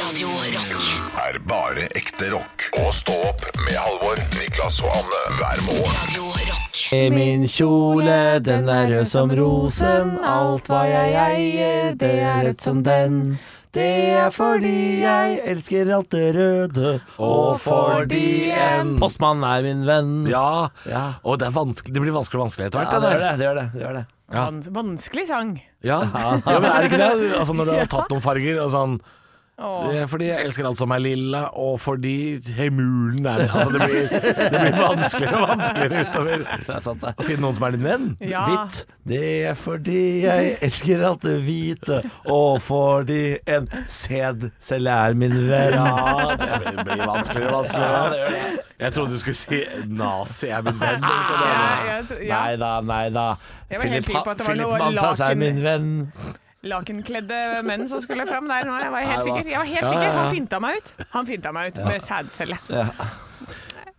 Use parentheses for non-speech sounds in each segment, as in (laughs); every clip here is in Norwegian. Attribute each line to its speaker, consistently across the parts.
Speaker 1: Radio Rock.
Speaker 2: er bare ekte rock. Og stå opp med Halvor, Niklas og Anne hver morgen.
Speaker 1: Radio Rock.
Speaker 3: I min kjole, den er rød som rosen. Alt hva jeg eier, det er rødt som den. Det er fordi jeg elsker alt det røde, og fordi en postmann er min venn.
Speaker 4: Ja,
Speaker 3: Ja.
Speaker 4: og det, er vanskelig- det blir vanskeligere og vanskeligere etter
Speaker 3: Ja,
Speaker 4: hvert.
Speaker 3: det
Speaker 4: da,
Speaker 3: gjør det. det, gjør det, det, gjør det.
Speaker 4: Ja.
Speaker 5: Vans- Vanskelig sang.
Speaker 4: Ja. ja, men er det ikke (laughs) det? Altså Når du har tatt noen farger og sånn
Speaker 5: Åh.
Speaker 4: eh, Fordi jeg elsker alt som er lilla, og fordi hemulen er altså, det, blir, det blir vanskeligere og vanskeligere utover.
Speaker 3: Det er sant, det.
Speaker 4: Å finne noen som er din venn.
Speaker 5: Ja.
Speaker 3: Hvitt, det er fordi jeg elsker alt det hvite, og fordi en sædcelle er min venn.
Speaker 4: Ja, det blir- blir vanskeligere og
Speaker 3: Ja, det
Speaker 4: vanskeligere.
Speaker 3: gjør det.
Speaker 4: Jeg trodde du skulle si nazi er min venn.
Speaker 5: Ja,
Speaker 4: Liksom.
Speaker 5: jeg tro- ja.
Speaker 3: Nei da, nei da.
Speaker 5: Jeg var helt
Speaker 3: Philip
Speaker 5: sikker på at det var
Speaker 3: Philip
Speaker 5: noe
Speaker 3: Manshaus er
Speaker 5: laken-
Speaker 3: min venn.
Speaker 5: Lakenkledde menn som skulle fram der nå. Jeg var
Speaker 4: Ja,
Speaker 5: helt
Speaker 4: det var-
Speaker 5: sikker. Jeg var helt
Speaker 4: Ja, ja,
Speaker 5: sikker.
Speaker 4: ja.
Speaker 5: Han finta meg ut. Han finta meg ut med sædcelle.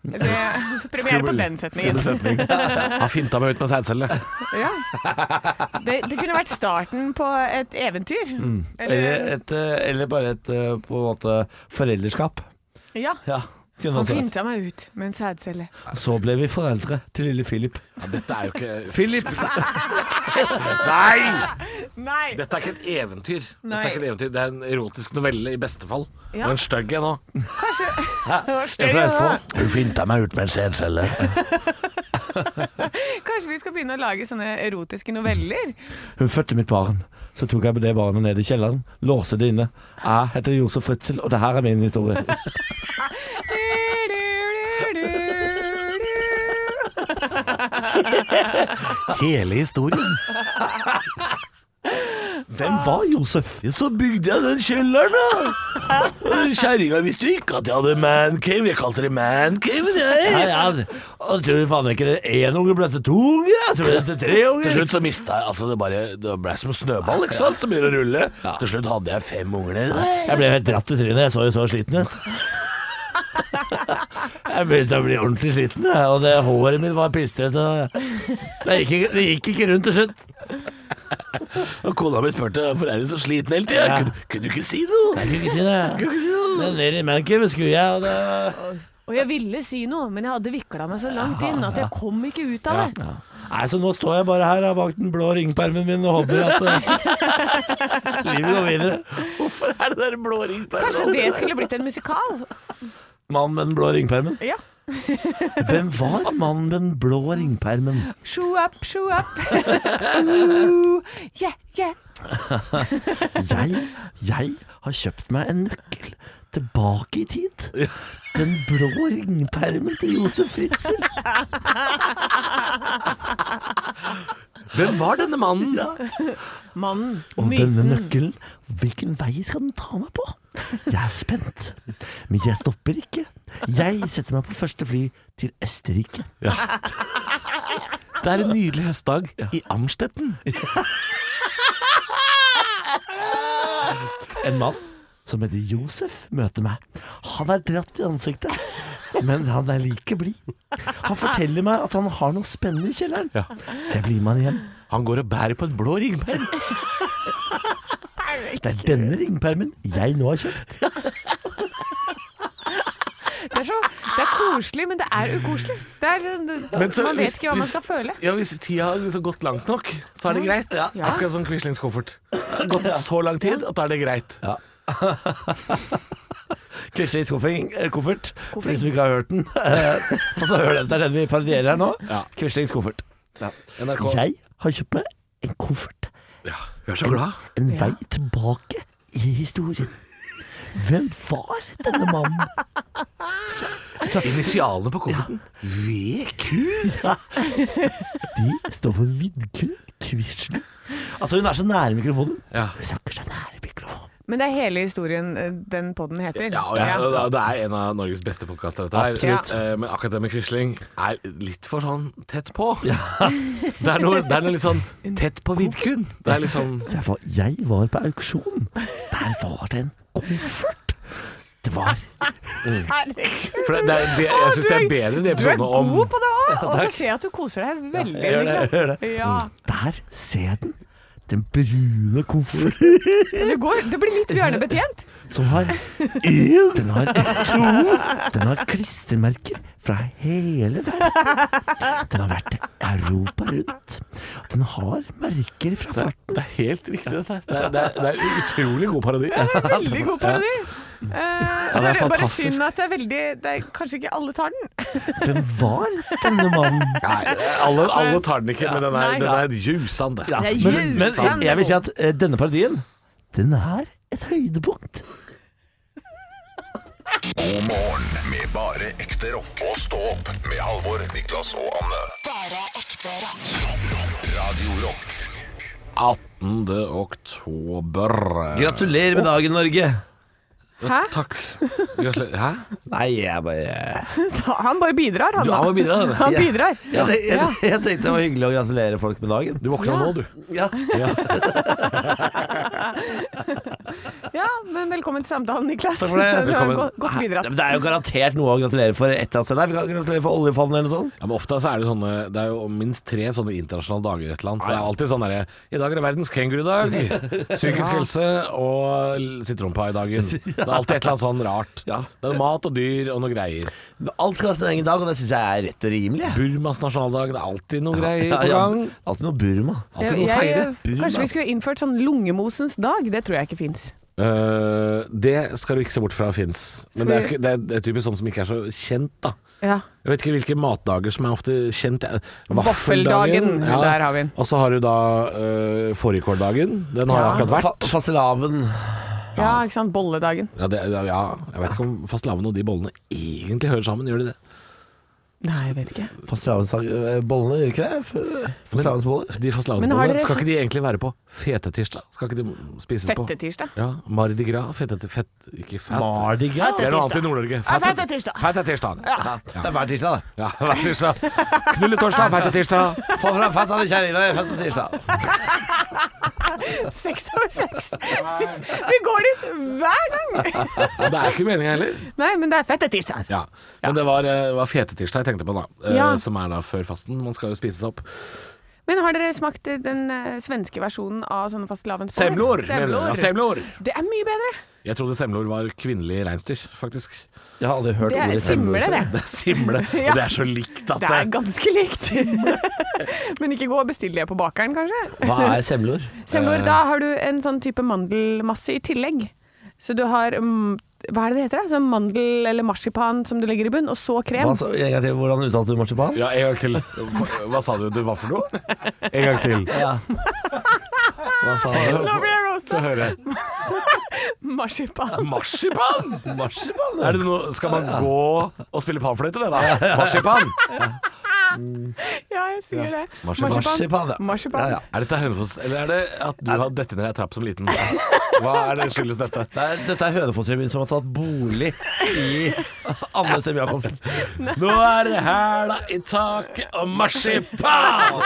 Speaker 5: Det Premiere på
Speaker 4: Skummel- skummel
Speaker 5: den setningen.
Speaker 4: sånn setning. Han finta meg ut med sædcelle.
Speaker 5: Ja. Det, det kunne vært starten på et eventyr.
Speaker 4: Mm.
Speaker 3: Eller,
Speaker 5: Eller,
Speaker 3: et, eh, eller bare et eh, på en måte forelderskap.
Speaker 4: eh,
Speaker 5: ja.
Speaker 3: Ja, kunne
Speaker 5: Han
Speaker 3: også vært.
Speaker 5: finta meg ut med en sædcelle.
Speaker 3: Så ble vi foreldre til lille Philip.
Speaker 4: Ja, dette er jo ikke
Speaker 3: Philip!
Speaker 4: Nei!
Speaker 5: Nei!
Speaker 4: Dette er ikke et eventyr. Dette
Speaker 5: Nei.
Speaker 4: er ikke et eventyr, Det er en erotisk novelle i beste fall.
Speaker 5: Ja.
Speaker 4: Og en stygg en òg.
Speaker 5: Kanskje (laughs) Det
Speaker 3: Jeg
Speaker 5: var
Speaker 3: er fra
Speaker 5: større, da.
Speaker 3: Østfold.
Speaker 4: Hun finta meg ut med en sædcelle.
Speaker 5: Kanskje vi skal begynne å lage sånne erotiske noveller?
Speaker 3: Hun fødte mitt barn. Så tok jeg det barnet ned i kjelleren, låste det inne. Jeg heter Josef Fritzel, og det her er min historie.
Speaker 4: Hele historien.
Speaker 3: Hvem var Josef?
Speaker 4: Så bygde jeg den kjelleren, da. Kjerringa visste jo ikke at jeg hadde mancave. Jeg kalte det mancaven, jeg.
Speaker 3: Nei, ja, og tror du faen ikke det er én unge ble til to unger? ja? Så ble det til tre
Speaker 4: Til
Speaker 3: unger?
Speaker 4: slutt så mista jeg altså det, bare, det ble som en snøball, ikke sant, som begynner å rulle. Til slutt hadde jeg fem unger nedi der.
Speaker 3: Jeg ble helt dratt i trynet. Jeg så jo så sliten ut. Jeg begynte å bli ordentlig sliten, jeg, og det håret mitt var pistrete. og Det gikk, ikke- det gikk ikke rundt til slutt.
Speaker 4: Og kona mi spurte hvorfor er du så sliten hele tida.
Speaker 3: Ja.
Speaker 4: Kunne, kunne du ikke si noe?
Speaker 3: Jeg kunne ikke si det.
Speaker 4: Kunne du ikke si noe?
Speaker 3: Men ned i mancaven skulle jeg, og det
Speaker 5: Og jeg ville si noe, men jeg hadde vikla meg så langt inn at jeg kom ikke ut av det.
Speaker 3: Nei, så nå står jeg bare her da, bak den blå ringpermen min og håper at eh, livet går videre.
Speaker 4: Hvorfor er det der blå ring på
Speaker 5: Kanskje det skulle blitt en musikal?
Speaker 3: Mannen med den blå ringpermen.
Speaker 5: Ja.
Speaker 3: Hvem var mannen med den blå ringpermen?
Speaker 5: Show up, show
Speaker 4: (laughs)
Speaker 5: up. Ooh, yeah, yeah.
Speaker 3: Jeg, jeg har kjøpt meg en nøkkel tilbake i tid. Den blå ringpermen til Josef Fritzel.
Speaker 4: (laughs) Hvem var denne mannen? Mm.
Speaker 5: Mannen,
Speaker 3: Og denne
Speaker 5: myten.
Speaker 3: nøkkelen, hvilken vei skal den ta meg på? Jeg er spent, men jeg stopper ikke. Jeg setter meg på første fly til Østerrike.
Speaker 4: Det er en nydelig høstdag i (laughs) Amstetten.
Speaker 3: En mann som heter Josef møter meg. Han er dratt i ansiktet, men han er like blid. Han forteller meg at han har noe spennende i kjelleren.
Speaker 4: Ja.
Speaker 3: Jeg blir med han hjem.
Speaker 4: Han går og bærer på en blå ringperm.
Speaker 3: Det er denne ringpermen jeg nå har kjøpt.
Speaker 5: Det er, så, det er koselig, men det er ukoselig. Det er, sånn-
Speaker 4: Men så
Speaker 5: man
Speaker 4: hvis-
Speaker 5: vet ikke hva man
Speaker 4: hvis-
Speaker 5: skal føle.
Speaker 4: Ja, Hvis tida har liksom gått langt nok, så er det greit.
Speaker 5: Ja.
Speaker 4: Akkurat som Quislings koffert. Det har Gått så lang tid at da er det greit.
Speaker 3: Klisjé i skuffing, eh, koffert, for de som ikke har hørt den. (laughs) Og så hører den, det er den vi parodierer her nå.
Speaker 4: Ja.
Speaker 3: Klisjé i skuffert.
Speaker 4: NRK.
Speaker 3: Jeg har kjøpt meg en koffert.
Speaker 4: Ja, jeg er så glad.
Speaker 3: En vei tilbake i historien. Hvem var denne mannen?
Speaker 4: Initialene på kofferten. VQ.
Speaker 3: De står for Vidkun Quisling. Altså, hun er så nære mikrofonen.
Speaker 4: Ja.
Speaker 3: Hun snakker så nære mikrofonen.
Speaker 5: Men det er hele historien eh, den podden heter.
Speaker 4: Ja, og jeg, og det er en av Norges beste podkaster, dette her.
Speaker 5: Absolutt.
Speaker 4: Eh, Men akkurat det med Quisling er litt for sånn tett på. (laughs) Det, er noe, det er noe litt sånn tett på vidkun. Det er litt sånn
Speaker 3: Jeg var, jeg var på auksjon. Der var det en koffert. Det var
Speaker 5: Herregud.
Speaker 4: For det, det, er- det, jeg syns det er bedre de
Speaker 5: Du er
Speaker 4: episodene om
Speaker 5: god på det òg, og så ser jeg at du koser deg veldig.
Speaker 4: Mm.
Speaker 3: gjør det, jeg
Speaker 5: Niklas. Ja.
Speaker 3: Der, se den. den brune kofferten
Speaker 5: Du, går, du blir litt bjørnebetjent.
Speaker 3: som har én, den har to, den har klistremerker fra hele verden. Den har vært Europa rundt. Den har merker fra farten.
Speaker 4: Det er helt riktig, dette her. Det er, det er, det er en utrolig god parodi.
Speaker 5: Veldig god parodi. Eh,
Speaker 4: det er
Speaker 5: det er bare
Speaker 4: fantastisk.
Speaker 5: synd at det er veldig det er, Kanskje ikke alle tar (laughs) den.
Speaker 3: Hvem var denne mannen?
Speaker 4: Nei, alle, alle tar den ikke, men den er,
Speaker 5: Nei.
Speaker 4: den er jusende.
Speaker 3: Ja,
Speaker 1: Det er
Speaker 3: men, men
Speaker 1: ljusende
Speaker 3: jeg vil si at eh, denne parodien, den er et høydepunkt.
Speaker 2: God morgen med bare ekte rock. Og stå opp med Halvor, Niklas og Anne.
Speaker 6: Bare ekte rock.
Speaker 2: Radio Rock.
Speaker 4: 18. oktober. eh,
Speaker 3: Gratulerer med dagen, Norge.
Speaker 5: Hæ?
Speaker 4: Takk. Gratulerer. Hæ?
Speaker 3: Nei, jeg bare
Speaker 5: Han bare bidrar, han.
Speaker 4: Du
Speaker 5: da.
Speaker 4: har med bidra,
Speaker 5: Han bidrar.
Speaker 3: Jeg, jeg, jeg tenkte det var hyggelig å gratulere folk med dagen.
Speaker 4: Du våkna nå, du.
Speaker 3: Ja.
Speaker 5: Ja, men velkommen til samtalen, Niklas.
Speaker 3: Takk for det.
Speaker 5: (laughs) Du har
Speaker 3: Velkommen.
Speaker 5: gått- gått
Speaker 3: Ja,
Speaker 5: bidratt.
Speaker 3: men Det er jo garantert noe å gratulere for et eller annet sted. Nei, vi kan gratulere for oljefondet eller noe sånt.
Speaker 4: Ja, men ofte så er det sånne Det er jo minst tre sånne internasjonale dager i et eller annet. Så det er alltid sånn derre I dag er det verdens kengurudag. Psykisk helse og l-
Speaker 3: (laughs)
Speaker 4: sitronpai-dagen. Det er alltid et eller annet sånn rart.
Speaker 3: Ja.
Speaker 4: Det er mat og dyr og noe greier.
Speaker 3: Men Alt skal ha sin egen dag, og det syns jeg er rett og rimelig. jeg.
Speaker 4: Burmas nasjonaldag. Det er alltid noe greier
Speaker 3: Ja,
Speaker 4: på
Speaker 3: ja.
Speaker 4: gang.
Speaker 3: Alltid noe Burma.
Speaker 4: Alltid noe å feire.
Speaker 5: eh, kanskje vi skulle innført sånn lungemosens dag? Det tror jeg ikke fins.
Speaker 4: Eh, det skal du ikke se bort fra fins. Men det er,
Speaker 5: Skal
Speaker 4: ikke- det, er, det er typisk sånn som ikke er så kjent, da.
Speaker 5: Ja.
Speaker 4: Jeg vet ikke hvilke matdager som er ofte kjent. Jeg-
Speaker 5: Vaffeldagen, der har vi den.
Speaker 4: Og så har du da uh, fårikåldagen. Den har
Speaker 5: Ja.
Speaker 4: akkurat vært.
Speaker 3: Fa fastelavn.
Speaker 5: ja, ikke sant. Bolledagen.
Speaker 4: Ja, det, ja, ja, jeg vet ikke om fastelavn og de bollene egentlig hører sammen, gjør de det?
Speaker 5: Nei, jeg vet ikke.
Speaker 3: Fastelavnsbollene, gjør ikke det? F- Fastelavnsboller.
Speaker 4: De
Speaker 5: Men har
Speaker 4: fastelavnsbollene,
Speaker 5: dere
Speaker 4: skal
Speaker 5: så-
Speaker 4: ikke de egentlig være på fetetirsdag? Skal ikke de spises på
Speaker 5: Fettetirsdag.
Speaker 4: Ja, Mardi Gras, fetete... Fett, ikke fett.
Speaker 3: Mardi Gras.
Speaker 4: det er noe annet i Nord-Norge.
Speaker 5: Fettetirsdag.
Speaker 4: Fetetirsdag. Ja.
Speaker 3: Det er hver tirsdag, det.
Speaker 4: Ja, hver tirsdag. Knulletorsdag, fetetirsdag.
Speaker 3: Få fram fettene, kjerringa. det er fett på tirsdag.
Speaker 5: Seks over seks. (laughs) Vi går dit hver gang.
Speaker 4: (laughs) Det er ikke meninga heller.
Speaker 5: Nei, men det er fettetirsdag.
Speaker 4: Ja. Men det var, eh, var fetetirsdag jeg tenkte på da, eh,
Speaker 5: Ja.
Speaker 4: som er da før fasten. Man skal jo spises opp.
Speaker 5: Men har dere smakt den eh, svenske versjonen av sånne fastelavnsboller?
Speaker 4: mener jeg. Ja,
Speaker 5: Semlor.
Speaker 4: semlor.
Speaker 5: Det er mye bedre.
Speaker 4: Jeg trodde semlor var kvinnelig reinsdyr, faktisk.
Speaker 3: Jeg har aldri hørt
Speaker 5: Det er
Speaker 3: ordet
Speaker 5: simle,
Speaker 3: før.
Speaker 5: det.
Speaker 4: Det er
Speaker 5: (laughs)
Speaker 4: simle,
Speaker 5: Ja.
Speaker 4: og det er så likt at
Speaker 5: Det er ganske likt. (laughs) Men ikke gå og bestill det på bakeren, kanskje.
Speaker 3: Hva er semlor? Eh.
Speaker 5: Semlor, da har du en sånn type mandelmasse i tillegg. Så du har mm, hva er det det heter? da? Sånn mandel eller marsipan som du legger i bunn, og så krem.
Speaker 3: Hva sa- en gang til, hvordan uttalte du marsipan?
Speaker 4: Ja, en gang til. Hva- Hva sa du det var for noe? En gang til.
Speaker 3: Ja. Hva faen?
Speaker 5: Nå blir jeg
Speaker 4: Få
Speaker 5: roasta!
Speaker 4: høre.
Speaker 5: Marsipan.
Speaker 4: Marsipan!
Speaker 3: Marsipan?
Speaker 4: Er det noe, skal man gå og spille panfløyte, det da? Marsipan!
Speaker 5: Ja, jeg sier det.
Speaker 4: Marsipan.
Speaker 3: Marsipan, ja.
Speaker 5: Marsipan.
Speaker 3: Ja, ja.
Speaker 4: Er dette Hønefoss, eller er det at du har dette ned ei trapp som liten? Hva er det skyldes dette?
Speaker 3: Det er, dette er Hønefoss-revyen som har tatt bolig i Anne Sem Jacobsen.
Speaker 4: Nå er det hæla i taket og marsipan!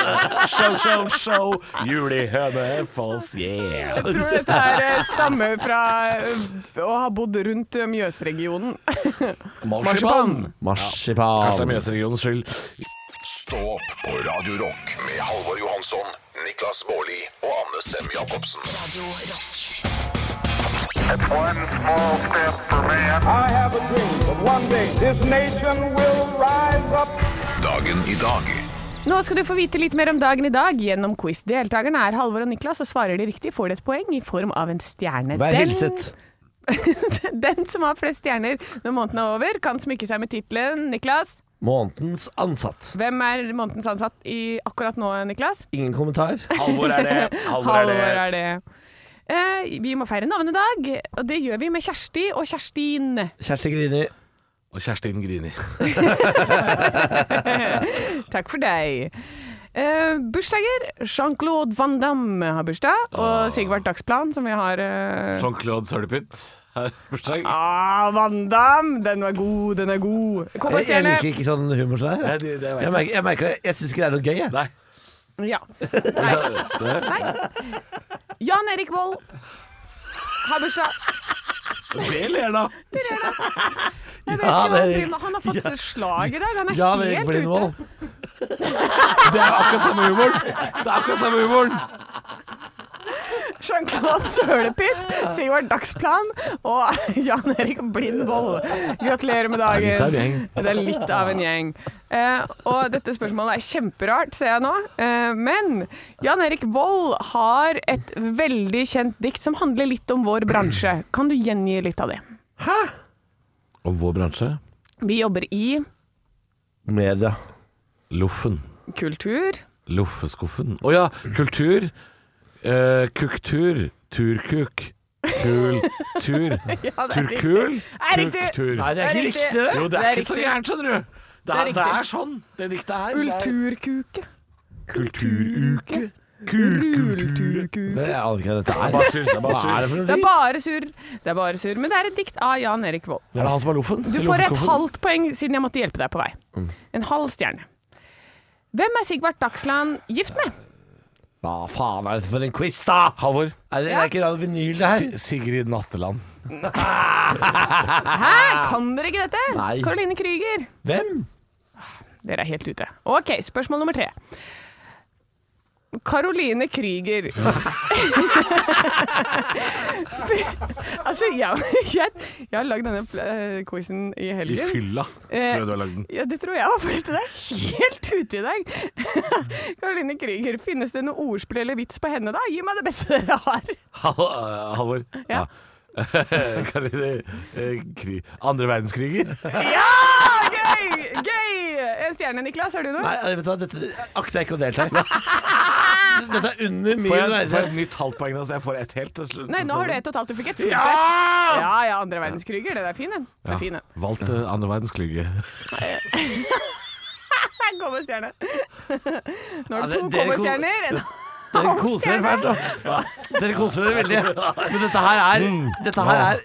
Speaker 4: Show, show, show, jul i Hønefoss, yeah!
Speaker 5: Jeg tror dette her eh, stammer fra eh, å ha bodd rundt eh, Mjøsregionen. (laughs)
Speaker 4: Marsipan! Kanskje det er
Speaker 3: Marsipan.
Speaker 4: Mjøsregionens skyld.
Speaker 2: Stå opp på Radio Rock med Halvor Johansson, Niklas Baarli og Anne Sem Jacobsen.
Speaker 6: Radio rock.
Speaker 7: One small step for man. I have a dream that one day this nation will rise up.
Speaker 2: Dagen i dag.
Speaker 5: Nå skal du få vite litt mer om dagen i dag gjennom quiz. Deltakerne er Halvor og Niklas, og svarer de riktig, får de et poeng i form av en stjerne.
Speaker 3: Vær
Speaker 5: Den-
Speaker 3: hilset.
Speaker 5: (laughs) Den som har flest stjerner når måneden er over, kan smykke seg med tittelen Niklas.
Speaker 3: Månedens ansatt.
Speaker 5: Hvem er månedens ansatt i akkurat nå, Niklas?
Speaker 3: Ingen kommentar.
Speaker 4: Halvor er det.
Speaker 5: er det. Eh, vi må feire navnedag, og det gjør vi med Kjersti og Kjerstin.
Speaker 3: Kjersti Grini.
Speaker 4: Og Kjerstin Grini.
Speaker 5: Takk for deg. Eh, bursdager. Jean-Claude Van Damme har bursdag, og Sigvart Dagsplan, som vi har eh,
Speaker 4: Jean-Claude Sølpytt har bursdag.
Speaker 5: Ah, Van Damme! Den var god, den er god.
Speaker 3: Jeg, jeg
Speaker 5: Kobberstjerne.
Speaker 3: liker ikke sånn humor som det
Speaker 4: Nei,
Speaker 3: her.
Speaker 4: det, det
Speaker 3: Jeg
Speaker 4: vet jeg.
Speaker 3: merker, jeg merker det. Jeg syns ikke det er noe gøy, jeg.
Speaker 4: Nei.
Speaker 5: Ja. Nei. Nei. Jan Erik Vold har bursdag.
Speaker 4: Det ler da.
Speaker 5: Jeg vet
Speaker 3: Ja,
Speaker 5: ikke hva han
Speaker 3: Erik.
Speaker 5: driver med. Han har fått seg slag i dag. Han er
Speaker 3: Ja, det
Speaker 5: helt
Speaker 3: blir
Speaker 5: ute.
Speaker 3: noe.
Speaker 4: Det er akkurat samme humoren. Det er akkurat samme humoren.
Speaker 5: Jean-Claude Sølepytt, Sigvard Dagsplan og Jan Erik Blindvold. Gratulerer med
Speaker 4: Det er litt av en
Speaker 5: dagen.
Speaker 4: gjeng.
Speaker 5: Det er litt av en gjeng. Eh, og dette spørsmålet er kjemperart, ser jeg nå. Eh, men Jan Erik Vold har et veldig kjent dikt som handler litt om vår bransje. Kan du gjengi litt av det?
Speaker 4: Om vår bransje
Speaker 5: Vi jobber i
Speaker 3: Media.
Speaker 4: Loffen.
Speaker 5: kultur.
Speaker 4: Loffeskuffen. Å ja, kultur. Eh, kuktur. Turkuk. Kultur.
Speaker 5: Ja, det er riktig.
Speaker 4: Turkul.
Speaker 5: Er riktig.
Speaker 4: Kuktur.
Speaker 3: Nei, det er ikke
Speaker 5: Det er
Speaker 3: riktig, det.
Speaker 4: Jo, det
Speaker 5: Det
Speaker 4: er
Speaker 5: er
Speaker 4: ikke så
Speaker 5: riktig.
Speaker 4: gærent, skjønner du. Det er,
Speaker 5: er
Speaker 4: det
Speaker 5: riktig.
Speaker 4: er sånn, det diktet her. Det er-
Speaker 5: Kulturkuke.
Speaker 4: Kulturuke. Kulturkuke.
Speaker 3: Det er aldri hva dette
Speaker 4: Det er
Speaker 3: er.
Speaker 4: bare surr. Det er
Speaker 3: Hva
Speaker 4: bare
Speaker 3: er
Speaker 4: surr.
Speaker 3: det for noe
Speaker 5: Det er
Speaker 3: dritt?
Speaker 5: bare surr. Det er bare surr. Men det er et dikt av Jan Erik Vold.
Speaker 4: Er det han som er loffen?
Speaker 5: Du får et
Speaker 4: Loffeskuffen?
Speaker 5: halvt poeng siden jeg måtte hjelpe deg på vei.
Speaker 4: Mm.
Speaker 5: En halv stjerne. Hvem er Sigvard Dagsland gift med?
Speaker 3: Hva faen er dette for en quiz, da?
Speaker 4: Halvor.
Speaker 3: Er det, det er ikke Radio Vinyl, det her.
Speaker 4: Si- Sigrid Natteland. Ah.
Speaker 5: Hæ, kan dere ikke dette?
Speaker 3: Nei.
Speaker 5: Caroline Krüger.
Speaker 3: Hvem?
Speaker 5: Dere er helt ute. OK, spørsmål nummer tre. Caroline Krüger (laughs) Altså, jeg, jeg, jeg har lagd denne eh, quizen i
Speaker 4: I
Speaker 5: helgen.
Speaker 4: fylla,
Speaker 5: Eh,
Speaker 4: tror jeg du har (laughs) lagd den.
Speaker 5: Ja, det tror jeg var fordi det er helt ute i dag. (laughs) Caroline Krüger, finnes det noe ordspill eller vits på henne da? Gi meg det beste dere har.
Speaker 4: Hal- eh, Halvor.
Speaker 5: Ja.
Speaker 4: (laughs) Kan vi, eh, kri- Andre
Speaker 5: (laughs)
Speaker 4: verdenskriger?
Speaker 5: Ja! Gøy! Gøy! En stjerne, Niklas. Har du noe?
Speaker 3: Nei, vet du hva, dette akter jeg ikke å
Speaker 5: (laughs)
Speaker 3: delta i. Dette er under min
Speaker 4: Får jeg får jeg
Speaker 3: verden.
Speaker 4: et nytt halvt poeng, da, så jeg får ett helt? til slutt?
Speaker 5: Nei, nå har du ett og et halvt. Du fikk et fint ja! Ja, ja, andre verdenskriger. Det der er fin, den. Det
Speaker 4: Ja.
Speaker 5: er fin, den.
Speaker 4: Valgt eh, andre verdenskriger. (laughs)
Speaker 5: Her kommer stjerne. Nå
Speaker 3: Ja,
Speaker 5: har
Speaker 3: det-
Speaker 5: du to
Speaker 3: dere kom-
Speaker 5: komma-stjerner.
Speaker 3: Dere koser dere fælt, da. Dere koser dere veldig. Men dette her er, dette her er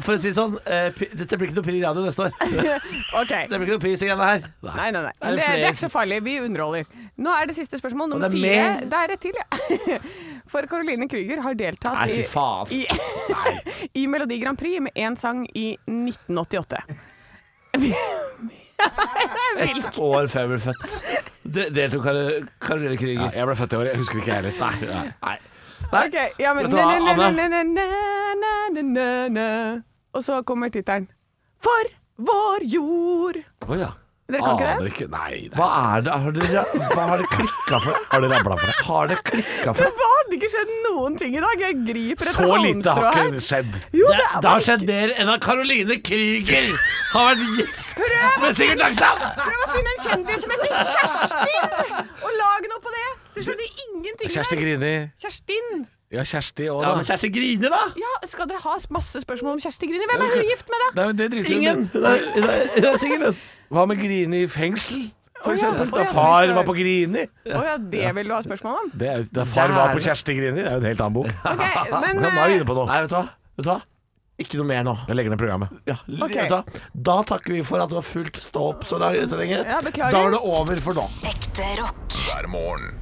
Speaker 3: for å si det sånn, eh, pri- dette blir ikke noe Pri radio neste år. Det
Speaker 5: OK.
Speaker 3: blir ikke noe pris, de greiene her.
Speaker 5: Nei, nei, nei.
Speaker 3: Er
Speaker 5: Det,
Speaker 3: det
Speaker 5: det
Speaker 3: flere-
Speaker 5: er ikke så farlig. Vi underholder. Nå er det siste spørsmål, nummer
Speaker 3: det er
Speaker 5: fire.
Speaker 3: mer?
Speaker 5: Det er rett til, ja. (laughs) For Caroline Krüger har deltatt
Speaker 3: Nei, fy faen.
Speaker 5: i, i, i Melodi Grand Prix med én sang i (laughs) 1988. (laughs)
Speaker 3: Ett år før jeg ble født. Det deltok Kar- Karoline
Speaker 4: Ja,
Speaker 3: Krüger.
Speaker 4: jeg ble født i året, jeg husker ikke jeg heller. Nei,
Speaker 3: Nei.
Speaker 5: Ok, ja, men
Speaker 3: Vet du hva,
Speaker 5: na, na,
Speaker 3: Anne?
Speaker 5: na, na, na, na, na, na, na. Og så kommer tittelen. For vår jord.
Speaker 4: Å ja.
Speaker 5: Dere
Speaker 3: Ah,
Speaker 5: kan ikke det?
Speaker 4: Aner ikke. Nei, nei.
Speaker 3: Hva er det Har det, hva har det klikka for?
Speaker 4: (laughs) Har du rabla for deg?
Speaker 3: Har det klikka
Speaker 5: Det
Speaker 3: for?
Speaker 5: hadde ikke skjedd noen ting i dag. Jeg griper etter
Speaker 4: Så lite
Speaker 5: halmstrå
Speaker 4: har
Speaker 5: her.
Speaker 4: ikke skjedd.
Speaker 5: Jo,
Speaker 3: Det, det
Speaker 5: er
Speaker 3: har
Speaker 5: bare-
Speaker 3: skjedd mer enn at Karoline Krüger har vært gift med Sigurd Dagsland!
Speaker 5: Prøv å finne en kjendis som heter Kjerstin, og lag noe på det. Det skjedde ingenting
Speaker 4: Kjersti
Speaker 5: der.
Speaker 4: Grini.
Speaker 5: Kjerstin.
Speaker 4: Ja, Kjersti òg,
Speaker 3: Ja, men
Speaker 4: da.
Speaker 3: Kjersti griner, da.
Speaker 5: Ja, skal dere ha masse spørsmål om Kjersti Grini? Hvem er hun gift med, da?
Speaker 4: Nei, men det driter vi i.
Speaker 3: Ingen. Hun er- hun er hun er singel, hun.
Speaker 4: Hva med Grini i fengsel? For
Speaker 5: Å ja,
Speaker 4: eksempel.
Speaker 5: å ja,
Speaker 4: Da
Speaker 5: så vi
Speaker 4: far
Speaker 5: skal-
Speaker 4: var på Grini.
Speaker 5: Å ja, det vil du ha spørsmål om?
Speaker 4: Det er, jo- da far var på Kjersti Grini, det er jo en helt annen bok. (laughs)
Speaker 5: Ok, men
Speaker 4: Nå er vi
Speaker 5: eh,
Speaker 4: inne på noe.
Speaker 3: Nei, vet du hva? Vet du hva? Ikke noe mer nå.
Speaker 4: Jeg legger ned programmet.
Speaker 3: Ja, l-
Speaker 5: Ok.
Speaker 3: vet du hva? Da takker vi for at du har fulgt stå opp så, lang, så lenge.
Speaker 5: eh, Ja,
Speaker 3: Da
Speaker 5: beklager.
Speaker 3: er det over for nå.
Speaker 6: Ekte rock.
Speaker 2: hver morgen.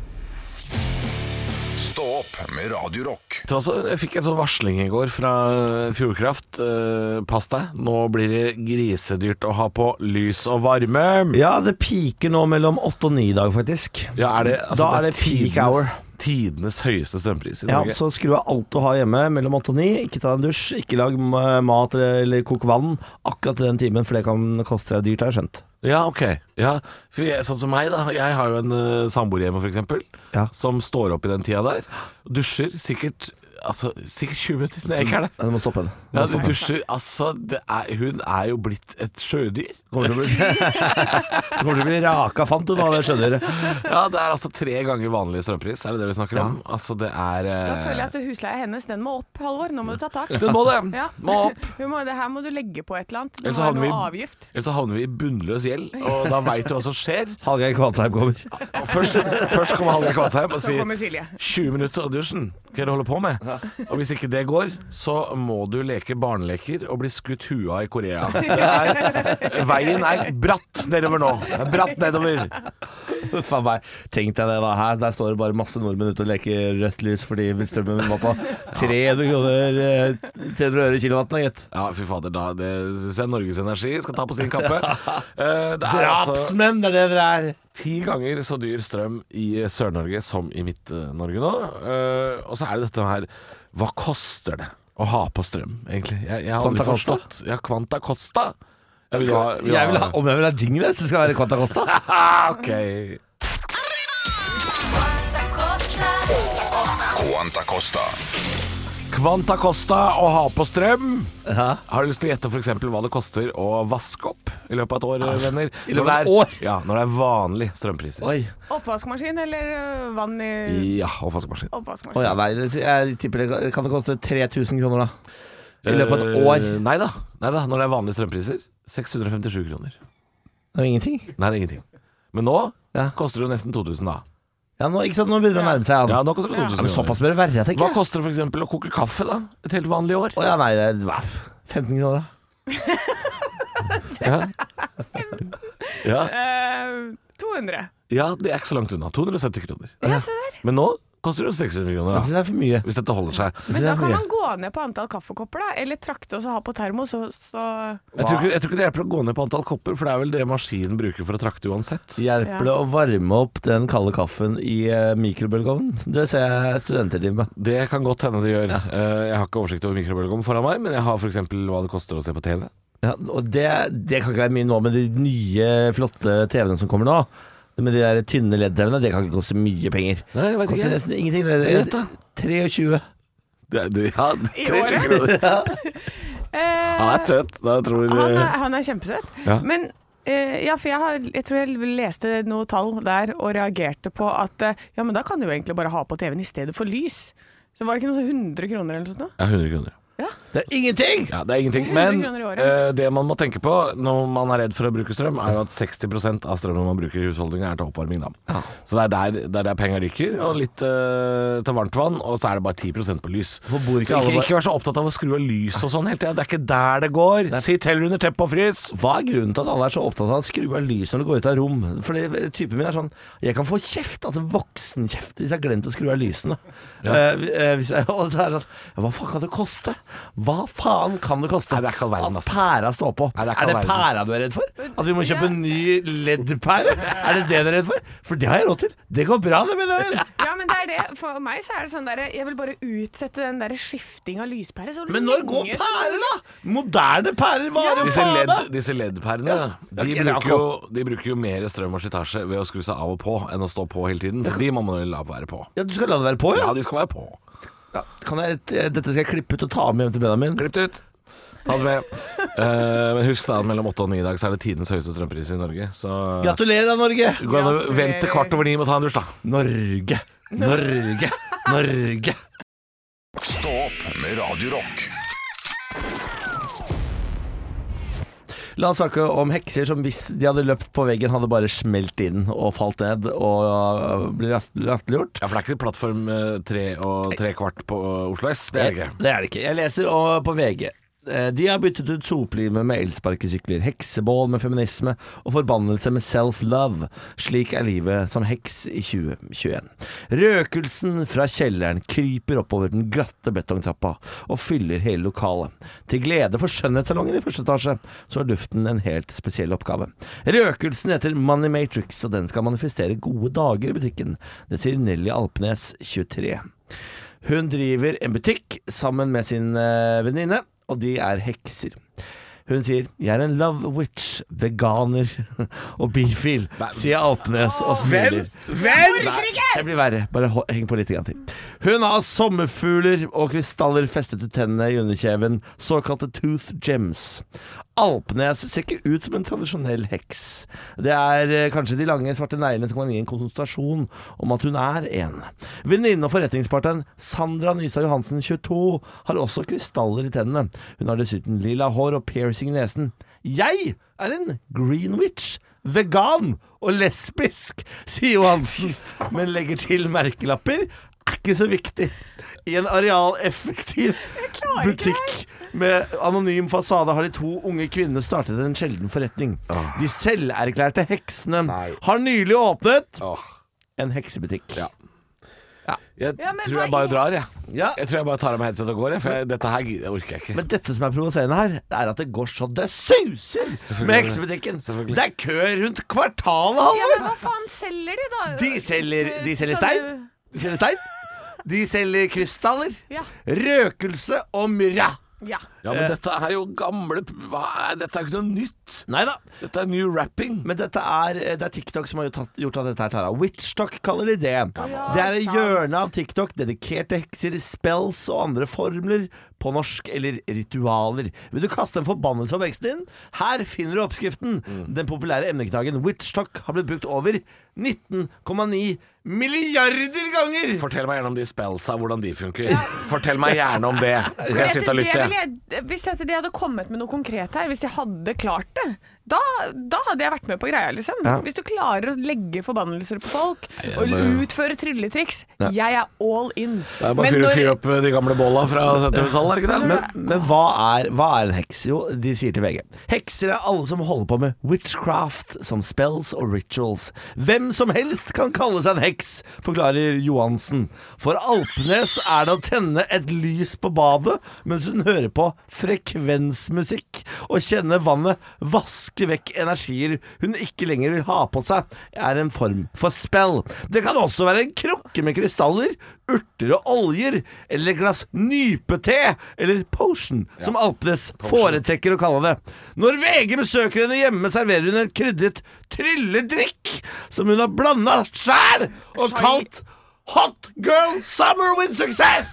Speaker 2: Stå opp med Radio Rock.
Speaker 4: Til også, jeg fikk en sånn varsling i går fra Fjordkraft. Eh, pass deg, nå blir det grisedyrt å ha på lys og varme.
Speaker 3: Ja, det piker nå mellom åtte og ni i dag, faktisk.
Speaker 4: Ja, er det, altså,
Speaker 3: da er det peak hour.
Speaker 4: Tidenes høyeste strømpris i
Speaker 3: Ja,
Speaker 4: Norge.
Speaker 3: Så skru av alt du har hjemme mellom åtte og ni. Ikke ta en dusj, ikke lag ma- mat eller eller kok vann akkurat i den timen, for det kan koste deg dyrt, har jeg skjønt.
Speaker 4: Ja, ok. Ja, for jeg, sånn som meg, da. Jeg har jo en uh, samboer hjemme, f.eks.,
Speaker 3: Ja.
Speaker 4: som står opp i den tida der. Dusjer sikkert Altså, sikkert 20 minutter når jeg ikke er der.
Speaker 3: Ja, Du må stoppe den.
Speaker 4: Ja, du dusjer, altså, det er, Hun er jo blitt et sjødyr.
Speaker 3: Kommer til å bli, (laughs) kommer til å bli raka fant, du nå, det skjønner du.
Speaker 4: Ja, Det er altså tre ganger vanlig strømpris, er det det vi snakker om? Altså, det er
Speaker 5: da
Speaker 4: eh,
Speaker 5: føler jeg at husleia hennes den må opp, Halvor. Nå må du ta tak.
Speaker 4: Den må det!
Speaker 5: Ja.
Speaker 4: Må opp!
Speaker 5: (laughs) Hun må, det her må du legge på et eller annet. Du
Speaker 4: Ellers
Speaker 5: må ha
Speaker 4: hadde
Speaker 5: noe
Speaker 4: vi-
Speaker 5: avgift.
Speaker 4: Ellers så havner vi i bunnløs gjeld, og da veit du hva som skjer.
Speaker 3: Hallgeir Kvantheim kommer.
Speaker 4: Først, først kommer Hallgeir Kvadsheim og
Speaker 5: Så
Speaker 4: sier
Speaker 5: kommer Silje.
Speaker 4: 20 minutter av dusjen. Hva er det du holder på med? Og hvis ikke det går, så må du leke barneleker og bli skutt huet av i Korea.
Speaker 5: (laughs)
Speaker 4: Det er, veien er bratt nedover nå. Det er Bratt nedover.
Speaker 3: (laughs) Faen meg, tenk deg det da her. Der står det bare masse nordmenn ute og leker rødt lys fordi strømmen var på 300 kroner eh, 300 øre kilowatten, gitt.
Speaker 4: Ja, fy fader. Da, det syns jeg Norges Energi skal ta på sin
Speaker 3: (laughs)
Speaker 4: kappe. Eh, Det er altså
Speaker 3: Drapsmenn, det er det dere er!
Speaker 4: ti ganger så dyr strøm i Sør-Norge som i Midt-Norge nå. Eh, Og så er det dette her Hva koster det å ha på strøm, egentlig? Jeg, jeg har aldri
Speaker 3: Quanta Costa?
Speaker 4: forstått. Ja, Quanta Costa. Jeg vil ha, vil
Speaker 3: Jeg vil ha, om jeg vil ha jingle, så skal det være Quanta Costa.
Speaker 4: (laughs) Ah, ok.
Speaker 2: Quanta Costa.
Speaker 4: Quanta Costa å ha på strøm.
Speaker 3: Ja.
Speaker 4: Har du lyst til å gjette for eksempel hva det koster å vaske opp i løpet av et år, venner?
Speaker 3: Ah, i løpet
Speaker 4: Når det
Speaker 3: av et
Speaker 4: er-
Speaker 3: år?
Speaker 4: Ja, når det er vanlige strømpriser.
Speaker 3: Oi.
Speaker 5: Oppvaskmaskin eller øh, vann i
Speaker 4: Ja, og vaskemaskin.
Speaker 3: Å
Speaker 5: oppvaskmaskin?
Speaker 3: ja, nei, det- jeg tipper det kan det koste 3000 kroner, da. I løpet av et år.
Speaker 4: Eh, Nei da. Nei da. Når det er vanlige strømpriser. 657 kroner.
Speaker 3: Det er jo ingenting.
Speaker 4: Nei, det er ingenting. Men nå
Speaker 3: Ja.
Speaker 4: koster det jo nesten 2000, da.
Speaker 3: Ja, nå, ikke sant? nå begynner det å nærme seg.
Speaker 4: Ja,
Speaker 3: Ja.
Speaker 4: nå koster det 2000
Speaker 3: Ja, men
Speaker 4: kroner.
Speaker 3: såpass bør det være,
Speaker 4: Hva
Speaker 3: tenker jeg.
Speaker 4: koster det f.eks. å koke kaffe, da? Et helt vanlig år?
Speaker 3: Å ja, nei, det er hva, 15 kroner, da.
Speaker 4: Ja. (laughs) Ja.
Speaker 5: Eh, 200.
Speaker 4: ja, det er ikke så langt unna. 270 kroner.
Speaker 5: Ja, se der.
Speaker 4: Men nå koster det jo 600
Speaker 3: Jeg
Speaker 4: kroner,
Speaker 3: syns
Speaker 4: da.
Speaker 3: det er for mye.
Speaker 4: Hvis dette holder seg.
Speaker 3: Jeg
Speaker 5: Men
Speaker 3: synes det
Speaker 5: da
Speaker 3: er for
Speaker 5: kan
Speaker 3: mye.
Speaker 5: man gå ned på antall kaffekopper, da. Eller trakte og så ha på termo, så, så
Speaker 4: Jeg tror, ikke, jeg tror ikke det hjelper å gå ned på antall kopper, for det er vel det maskinen bruker for å trakte uansett.
Speaker 3: Hjelper det
Speaker 5: Ja.
Speaker 3: å varme opp den kalde kaffen i eh, mikrobølgeovnen? Det ser jeg studenter driver med.
Speaker 4: Det kan godt hende det gjør. Eh, Jeg har ikke oversikt over mikrobølgeovn foran meg, men jeg har f.eks. hva det koster å se på TV.
Speaker 3: Ja, og det, det kan ikke være mye nå med de nye, flotte TV-ene som kommer nå. Med de der tynne LED-TV-ene, det kan ikke koste mye penger.
Speaker 4: Nei, jeg vet
Speaker 3: Koster
Speaker 4: ikke.
Speaker 3: nesten ingenting. Det
Speaker 4: Jeg
Speaker 3: er
Speaker 4: vet det.
Speaker 3: 23.
Speaker 4: Det, er- det, ja,
Speaker 5: I
Speaker 4: 300
Speaker 5: året?
Speaker 4: kroner.
Speaker 5: eh,
Speaker 4: Han er søt. Da
Speaker 3: Ah,
Speaker 4: tror
Speaker 5: Han er,
Speaker 4: eh,
Speaker 5: han er kjempesøt.
Speaker 4: Ja.
Speaker 5: Men eh, ja, for jeg, har, jeg tror jeg leste noe tall der og reagerte på at eh, ja, men da kan du jo egentlig bare ha på TV-en i stedet for lys. Så var det ikke noe sånn 100 kroner eller noe sånt? nå?
Speaker 4: Ja, 100 kroner.
Speaker 3: Det er ingenting!
Speaker 4: Ja, det er
Speaker 5: (laughs)
Speaker 4: ingenting.
Speaker 5: 100
Speaker 4: Men
Speaker 5: kroner i året.
Speaker 4: eh, det man må tenke på når man er redd for å bruke strøm, er jo at 60 av strømmen man bruker i husholdningen er til oppvarming. Da. Så det er der, det er der penger ryker, og litt eh, til varmtvann, og så er det bare 10 på lys.
Speaker 3: Hvorfor bor ikke
Speaker 4: så
Speaker 3: alle
Speaker 4: ikke,
Speaker 3: bare-
Speaker 4: ikke vær så opptatt av å skru av lys og sånn hele tida. Det er ikke der det går. Sitt heller under teppet og frys.
Speaker 3: Hva er grunnen til at alle er så opptatt av å skru av lyset når du går ut av rom? Fordi typen min er sånn Jeg kan få kjeft, altså voksenkjeft, hvis jeg har glemt å skru av lysene. Eh, eh, hvis jeg, (laughs) og så er det sånn Hva faen kan det koste? Hva faen kan det koste?
Speaker 4: Nei, det er ikke all verden,
Speaker 3: At
Speaker 4: altså.
Speaker 3: pæra står på.
Speaker 4: Nei, det
Speaker 3: er,
Speaker 4: er ikke all
Speaker 3: det
Speaker 4: verden.
Speaker 3: pæra du er redd for? At vi må kjøpe en ny LED-pære? Er det det du er redd for? For det har jeg råd til. Det går bra, det, mener jeg.
Speaker 5: Ja, men det er det. For meg så er det sånn der Jeg vil bare utsette den der skifting av lyspære. Så
Speaker 3: Men når
Speaker 5: lenge
Speaker 3: går
Speaker 5: som-
Speaker 3: pærer, da? Moderne pærer varer jo
Speaker 4: Disse
Speaker 3: faen
Speaker 4: LED,
Speaker 3: meg
Speaker 4: disse LED-pærene
Speaker 3: Ja.
Speaker 4: de,
Speaker 3: Ja, det er
Speaker 4: bruker jo, de bruker jo mer strøm og slitasje ved å skru seg av og på enn å stå på hele tiden, så de må man jo la være på.
Speaker 3: Ja, du skal la det være på, ja?
Speaker 4: Ja, de skal være på.
Speaker 3: ja. Kan jeg, eh, dette skal jeg klippe ut og ta med hjem til Benjamin.
Speaker 4: Klipp det ut. Ta det med. Eh, men husk da at mellom åtte og ni i dag så er det tidenes høyeste strømpris i Norge. Så
Speaker 3: Gratulerer da, Norge!
Speaker 4: du kan jo vente til kvart over ni med å ta en dusj, da.
Speaker 3: Norge, Norge, Norge.
Speaker 2: Stå opp med Radio Rock.
Speaker 3: La oss snakke om hekser som hvis de hadde løpt på veggen, hadde bare smelt inn og falt ned og blitt latterliggjort.
Speaker 4: Ja, For det er ikke plattform eh, tre og tre kvart på eh, Oslo S. Det er det ikke.
Speaker 3: Eh, Det er det ikke. Jeg leser og- på VG. Eh, De har byttet ut soplime med elsparkesykler, heksebål med feminisme og forbannelse med self-love. Slik er livet som heks i 2021. Røkelsen fra kjelleren kryper oppover den glatte betongtrappa og fyller hele lokalet. Til glede for skjønnhetssalongen i første etasje, så har duften en helt spesiell oppgave. Røkelsen heter Money Matrix, og den skal manifestere gode dager i butikken. Det sier Nelly Alpnes, 23. Hun driver en butikk sammen med sin eh, venninne, og de er hekser. Hun sier 'Jeg er en love witch, veganer (laughs) og bifil', sier Alpnes og smiler. Nei, det blir verre. Bare ho- heng på litt grann til. Hun har sommerfugler og krystaller festet til tennene i underkjeven, såkalte tooth gems. Alpnes ser ikke ut som en tradisjonell heks. Det er eh, kanskje de lange, svarte neglene som kan gi en konnotasjon om at hun er en. Venninnen og forretningspartneren Sandra Nystad Johansen, 22, har også krystaller i tennene. Hun har dessuten lilla hår og piercing i nesen. Jeg er en green witch vegan og lesbisk, sier Johansen, men legger til merkelapper. Er ikke så viktig i en arealeffektiv
Speaker 5: klarer ikke det
Speaker 3: butikk. Med anonym fasade har de to unge kvinnene startet en sjelden forretning. De selverklærte heksene har nylig åpnet
Speaker 4: Åh.
Speaker 3: en heksebutikk.
Speaker 4: Ja. Jeg
Speaker 5: Ja, men
Speaker 4: tror jeg
Speaker 5: hva
Speaker 4: bare
Speaker 5: er-
Speaker 4: drar, jeg.
Speaker 3: Ja,
Speaker 4: Jeg tror jeg bare tar av meg headset og går, jeg. For jeg, dette her gidder- orker jeg ikke.
Speaker 3: Men dette som er provoserende her, det er at det går så det suser med heksebutikken.
Speaker 4: Selvfølgelig.
Speaker 3: Det er kø rundt kvartalet,
Speaker 5: Ja,
Speaker 3: Halvor!
Speaker 5: men hva faen selger de, da?
Speaker 3: De selger, de selger stein.
Speaker 5: Sånne-
Speaker 3: De selger stein. De selger krystaller,
Speaker 5: Ja.
Speaker 3: røkelse og myrra.
Speaker 5: Ja.
Speaker 4: Ja, men dette er jo gamle hva er, Dette er jo ikke noe nytt.
Speaker 3: Nei da.
Speaker 4: Dette er new rapping.
Speaker 5: Mm.
Speaker 3: Men dette er, eh, det er TikTok som har gjort at, gjort at dette her tar av. Witchtalk kaller de det.
Speaker 5: ja,
Speaker 3: det er et
Speaker 5: sant.
Speaker 3: hjørne av TikTok dedikert til hekser, spells og andre formler på norsk eller ritualer. Vil du kaste en forbannelse over heksen din? Her finner du oppskriften.
Speaker 5: Mm.
Speaker 3: Den populære emneknaggen witchtalk har blitt brukt over 19,9 milliarder ganger!
Speaker 4: Fortell meg gjerne om de spellsa, hvordan de funker. Fortell meg gjerne om det. Skal jeg sitte og
Speaker 5: Det
Speaker 4: lytte?
Speaker 5: ville jeg- hvis dette, de hadde kommet med noe konkret her, hvis de hadde klart det, da, da hadde jeg vært med på greia, liksom. Hvis du klarer å legge forbannelser på folk og utføre trylletriks, jeg er all in.
Speaker 4: Det er bare å fyre- fyre opp eh, de gamle båla fra 70-tallet, er det ikke det?
Speaker 3: Men, men hva, er, hva er en heks? Jo, de sier til VG Hekser er alle som holder på med witchcraft, som spells og rituals. Hvem som helst kan kalle seg en heks, forklarer Johansen. For Alpenes er det å tenne et lys på badet mens hun hører på frekvensmusikk, og kjenne vannet vaske vekk energier hun ikke lenger vil ha på seg, er en form for spell. Det kan også være en krukke med krystaller, urter og oljer, eller et glass nypete, eller potion, som Alpenes foretrekker å kalle det. Når VG besøker henne hjemme, serverer hun en krydret trylledrikk som hun har blanda sjæl og kalt Hot Girl Summer with Success!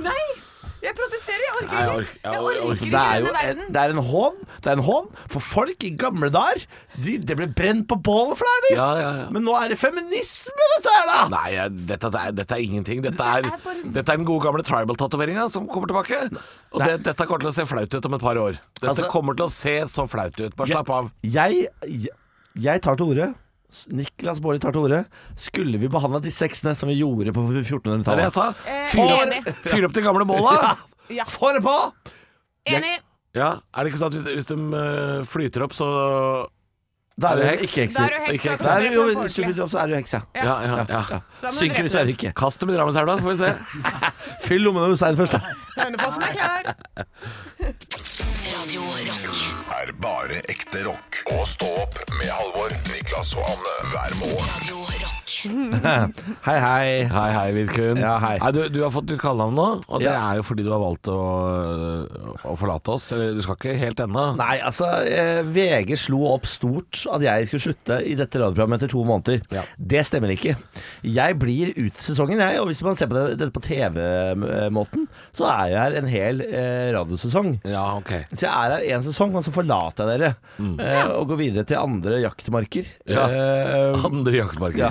Speaker 5: Nei! Jeg protesterer, jeg
Speaker 4: Nei, jeg
Speaker 5: orker
Speaker 4: ork-
Speaker 5: ikke.
Speaker 4: jeg orker-
Speaker 5: Jeg orker
Speaker 3: Det
Speaker 5: ikke
Speaker 3: er jo
Speaker 5: denne
Speaker 3: en,
Speaker 5: verden.
Speaker 3: det er en hån. Det er en hån for folk i gamle dager. De, det ble brent på bålet for det, er de.
Speaker 4: Ja, ja, ja.
Speaker 3: Men nå er det feminisme, dette her, da!
Speaker 4: Nei, jeg- dette, er, dette er ingenting. Dette er, dette er den gode gamle tribal-tatoveringa som kommer tilbake. Og det, dette kommer til å se flaut ut om et par år. Dette
Speaker 3: Altså-
Speaker 4: kommer til å se så flaut ut. Bare slapp av.
Speaker 3: Jeg, jeg, jeg tar til orde. S- Niklas Baarli tar til orde. Skulle vi behandla de seksene som vi gjorde på
Speaker 4: Det er det Eh, jeg
Speaker 3: 1400-tallet?
Speaker 4: sa. Fyr opp, fyr opp de gamle båla.
Speaker 5: Ja.
Speaker 3: Få det på!
Speaker 5: Enig.
Speaker 4: Ja, er det ikke sant at hvis, hvis de øh, flyter opp, så
Speaker 3: Da er
Speaker 4: Er
Speaker 3: du
Speaker 4: du heks?
Speaker 3: ikke
Speaker 5: Da
Speaker 3: hekser.
Speaker 5: er
Speaker 4: Ikke
Speaker 5: du heks.
Speaker 4: heks.
Speaker 3: Da er du, jo,
Speaker 5: Da
Speaker 3: hvis du flytter opp, så er du heks, ja.
Speaker 4: Ja, ja, ja.
Speaker 5: må du
Speaker 3: Synker du,
Speaker 5: drepe
Speaker 3: så er
Speaker 5: den.
Speaker 3: du ikke.
Speaker 4: Kast dem i Drammenshelva, så får vi se.
Speaker 3: Fyll lommene med stein først, da.
Speaker 5: Hønefossen er klar.
Speaker 6: Radio Rock.
Speaker 2: er bare ekte rock. Og stå opp med Halvor, Niklas og Anne hver morgen.
Speaker 6: Radio Rock.
Speaker 3: Hei, hei.
Speaker 4: (laughs) Hei, hei, Vidkun.
Speaker 3: Ja, hei.
Speaker 4: Nei, du, du har fått nytt kallenavn nå, og det
Speaker 3: Ja.
Speaker 4: er jo fordi du har valgt å, å forlate oss. Eller, Du skal ikke helt ennå.
Speaker 3: Nei, altså eh, VG slo opp stort at jeg skulle slutte i dette radioprogrammet etter to måneder.
Speaker 4: Ja.
Speaker 3: Det stemmer ikke. Jeg blir ut sesongen, jeg. Og hvis man ser på det- dette på TV-måten, så er jeg her en hel eh, radiosesong.
Speaker 4: Ja, ok.
Speaker 3: Så jeg er her én sesong, og så forlater jeg dere. Eh, og går videre til andre jaktmarker.
Speaker 4: Mm. Ja.
Speaker 3: Eh,
Speaker 4: Andre jaktmarker.
Speaker 3: ja.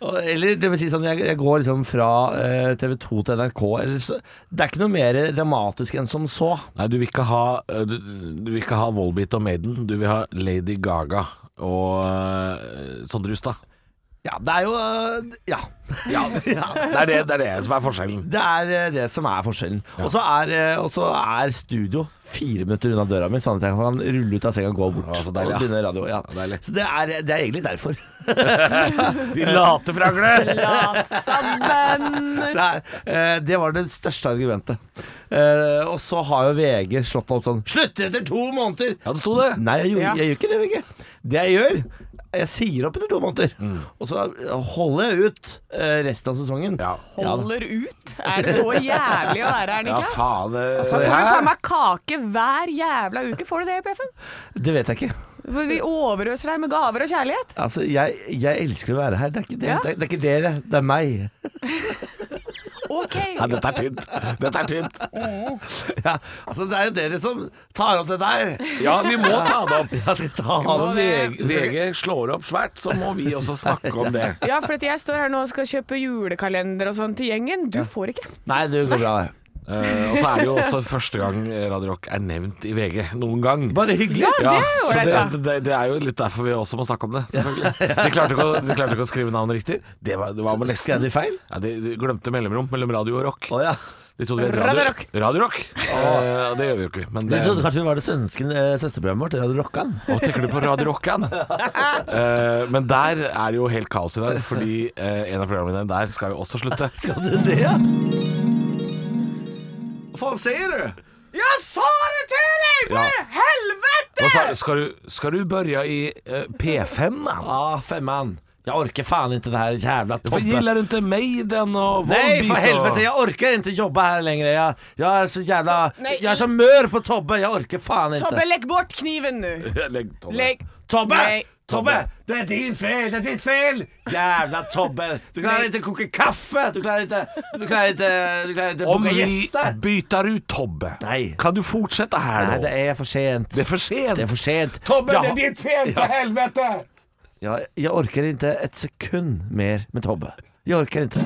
Speaker 3: Og- Eller det vil si sånn, jeg, jeg går liksom fra eh, TV 2 til NRK. Eller så, det er ikke noe mer dramatisk enn som så.
Speaker 4: Nei, du vil ikke ha, øh, du, du vil ikke ha Volbeat og Maiden. Du vil ha Lady Gaga og øh, Sondre Justad.
Speaker 3: Ja, det er jo eh, Ja.
Speaker 4: (laughs)
Speaker 3: ja.
Speaker 4: Det er det, det er det som er forskjellen.
Speaker 3: Det er eh, det som er forskjellen. Og så er, eh, og så er studio fire minutter unna døra mi, sånn at jeg kan rulle ut av senga og gå bort.
Speaker 4: Å, så
Speaker 3: og
Speaker 4: deilig, ja.
Speaker 3: begynne radio, ja.
Speaker 4: Ja, deilig.
Speaker 3: Så det er, det er egentlig derfor.
Speaker 4: (laughs) De late frangler!
Speaker 5: Lat sammen.
Speaker 3: Det, er, eh, det var det største argumentet. Eh, og så har jo VG slått opp sånn Slutter etter to måneder!
Speaker 4: Ja, det sto det.
Speaker 3: Nei, jeg, gjorde,
Speaker 5: Ja.
Speaker 3: jeg gjør ikke det, VG. Det jeg gjør jeg sier opp etter to måneder,
Speaker 4: Mm.
Speaker 3: og så holder jeg ut eh, resten av sesongen.
Speaker 4: Ja.
Speaker 3: Ja da.
Speaker 5: Holder ut. Er det så jævlig å være
Speaker 4: Ja,
Speaker 5: her, Niklas?
Speaker 4: faen. eh, det-
Speaker 5: Så får du
Speaker 4: Hæ?
Speaker 5: faen meg kake hver jævla uke. Får du det i PFM?
Speaker 3: Det vet jeg ikke.
Speaker 5: Hvor vi overøser deg med gaver og kjærlighet.
Speaker 3: Altså, jeg, jeg elsker å være her. Det er ikke det,
Speaker 5: Ja.
Speaker 3: det, er, det, er ikke dere, det er meg. (laughs)
Speaker 5: OK.
Speaker 4: (laughs) Nei, dette er tynt. Dette er tynt.
Speaker 3: Ja, altså det er jo dere som tar opp det der.
Speaker 4: Ja, vi må ta det opp.
Speaker 3: (laughs) Ja, dere tar
Speaker 5: må
Speaker 3: opp
Speaker 5: det.
Speaker 3: det.
Speaker 4: VG, VG slår opp svært, så må vi også snakke om
Speaker 5: (laughs)
Speaker 4: det.
Speaker 5: Ja, for at jeg står her nå og skal kjøpe julekalender og sånn til gjengen. Du får ikke.
Speaker 3: Nei, det går bra. det.
Speaker 4: Eh, og så er det jo også første gang Radio Rock er nevnt i VG noen gang.
Speaker 3: Bare hyggelig.
Speaker 5: Ja, det er jo
Speaker 4: så
Speaker 5: ålreit,
Speaker 4: det,
Speaker 5: da.
Speaker 4: det, det er jo litt derfor vi også må snakke om det,
Speaker 5: (laughs)
Speaker 4: selvfølgelig. De klarte ikke å, de klarte ikke å skrive navnet riktig. Det var, det var med nesten.
Speaker 3: Skrev de feil?
Speaker 4: Ja, de, de glemte mellomrom mellom radio og rock.
Speaker 3: Å ja.
Speaker 4: De trodde det het
Speaker 5: Radio
Speaker 4: Radio
Speaker 5: Rock.
Speaker 4: Radio Rock. Eh, det gjør vi jo ikke. Men
Speaker 3: De
Speaker 4: det,
Speaker 3: trodde kanskje vi var det svenske eh, søsterprogrammet vårt. Dere hadde rocka den.
Speaker 4: Nå tenker du på Radio Rockan.
Speaker 5: (laughs)
Speaker 4: Eh, men der er det jo helt kaos i dag, fordi eh, en av programmene der skal jo også slutte.
Speaker 3: Skal dere (laughs) det, ja? Hva faen sier du?
Speaker 5: Jeg sa det til deg!
Speaker 4: Ja.
Speaker 5: helvete!
Speaker 4: Hva sa, skal, du, skal du børja i eh, P5, da?
Speaker 3: Ah, femman. Jeg orker faen inte det här jävla
Speaker 4: För
Speaker 3: toppen.
Speaker 4: gillar du inte Maiden och
Speaker 3: Nej
Speaker 4: Volbeat
Speaker 3: för helvete,
Speaker 4: och...
Speaker 3: jag orkar inte jobba här längre. Jag, jag är så jävla...
Speaker 5: Nej,
Speaker 3: jag är så mör på Tobbe, jag orkar fan
Speaker 5: Tobbe,
Speaker 3: inte.
Speaker 5: legg bort kniven nu!
Speaker 4: Lägg, Tommy.
Speaker 5: Legg
Speaker 3: Tobbe!
Speaker 5: Nej.
Speaker 3: Tobbe! Det är din fel, det är ditt fel! Jävla Tobbe! Du klarar inte koka kaffe, du klarar inte... Du klarar inte... Du klarar inte
Speaker 4: Om
Speaker 3: boka
Speaker 4: vi
Speaker 3: gäster.
Speaker 4: byter ut Tobbe,
Speaker 3: Nej.
Speaker 4: kan du fortsätta här då?
Speaker 3: Nej, det är för sent.
Speaker 4: Det är för sent.
Speaker 3: Det är för sent.
Speaker 4: Tobbe,
Speaker 3: jag,
Speaker 4: det är
Speaker 3: ditt fel, för helvete! Jag, jeg orker ikke et sekund mer med Tobbe. Jeg orker ikke.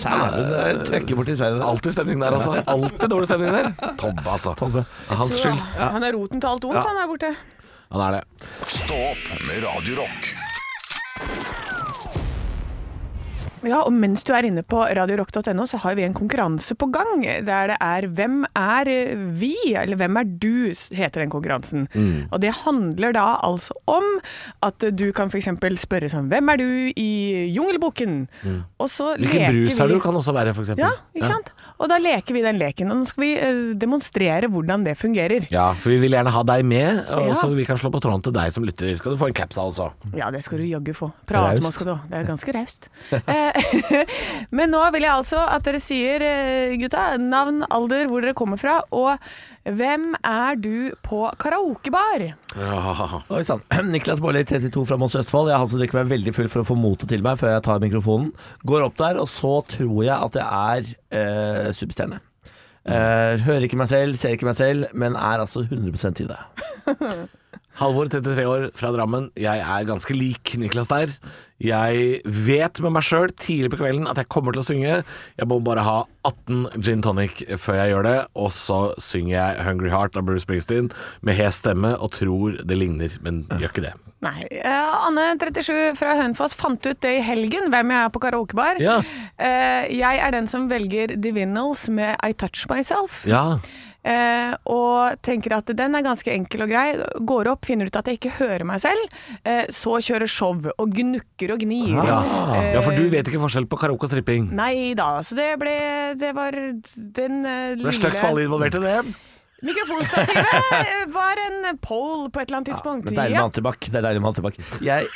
Speaker 3: Sæven jeg trekker borti sæven. der.
Speaker 4: Alltid stemning der, altså. Alltid dårlig stemning der. Tobbe, altså.
Speaker 3: Tobbe.
Speaker 4: Ja, Hans skyld.
Speaker 5: Han er roten til alt ondt, han der borte.
Speaker 4: Han er det.
Speaker 2: Stå opp med Radio Rock.
Speaker 5: Ja, og mens du er inne på radiorock.no, så har vi en konkurranse på gang. Der det er 'Hvem er vi?' eller 'Hvem er du?' heter den konkurransen.
Speaker 4: Mm.
Speaker 5: Og det handler da altså om at du kan f.eks. spørre sånn 'Hvem er du?' i Jungelboken. Og så
Speaker 4: Mm. Hvilken
Speaker 5: leker
Speaker 4: brus er
Speaker 5: vi-
Speaker 4: du? Kan også være, for eksempel.
Speaker 5: Ja, ikke sant? Og da leker vi den leken. Og nå skal vi eh, demonstrere hvordan det fungerer.
Speaker 4: Ja, for vi vil gjerne ha deg med, og
Speaker 5: Ja.
Speaker 4: så vi kan slå på tråden til deg som lytter. Skal du få en caps altså?
Speaker 5: Ja, det skal du jaggu få. Prate
Speaker 3: Raust.
Speaker 5: med oss skal du ha. Det er ganske raust. Eh, (laughs) Men nå vil jeg altså at dere sier, eh, gutta, navn, alder, hvor dere kommer fra, og hvem er du på karaokebar?
Speaker 4: Ja.
Speaker 3: Oi sann. (clears throat) Niklas Baarli, 32 fra Mons Østfold. Jeg er han som drikker meg veldig full for å få motet til meg før jeg tar mikrofonen. Går opp der, og så tror jeg at jeg er eh, superstjerne. Eh, hører ikke meg selv, ser ikke meg selv, men er altså 100 i det.
Speaker 4: Halvor, 33 år, fra Drammen. Jeg er ganske lik Niklas der. Jeg vet med meg sjøl tidlig på kvelden at jeg kommer til å synge. Jeg må bare ha 18 gin tonic før jeg gjør det, og så synger jeg 'Hungry Heart' av Bruce Springsteen med hes stemme og tror det ligner, men gjør ikke det.
Speaker 5: Nei. eh, Anne, 37 fra Hønefoss, fant ut det i helgen, hvem jeg er på karaokebar.
Speaker 4: Ja.
Speaker 5: Eh, Jeg er den som velger Divinals med I Touch Myself.
Speaker 4: Ja,
Speaker 5: Eh, og tenker at den er ganske enkel og grei. Går opp, finner ut at jeg ikke hører meg selv. Eh, så kjører show og gnukker og gnir.
Speaker 4: ja. ja for du vet ikke forskjell på karaoke og stripping.
Speaker 5: Nei da, så det ble Det var den eh,
Speaker 4: Det er stygt for alle
Speaker 5: lille
Speaker 4: involverte, det.
Speaker 5: Mikrofonstativet eh, var en pole på et eller annet tidspunkt.
Speaker 3: Men deilig med han tilbake. Det er deilig med han tilbake. Jeg,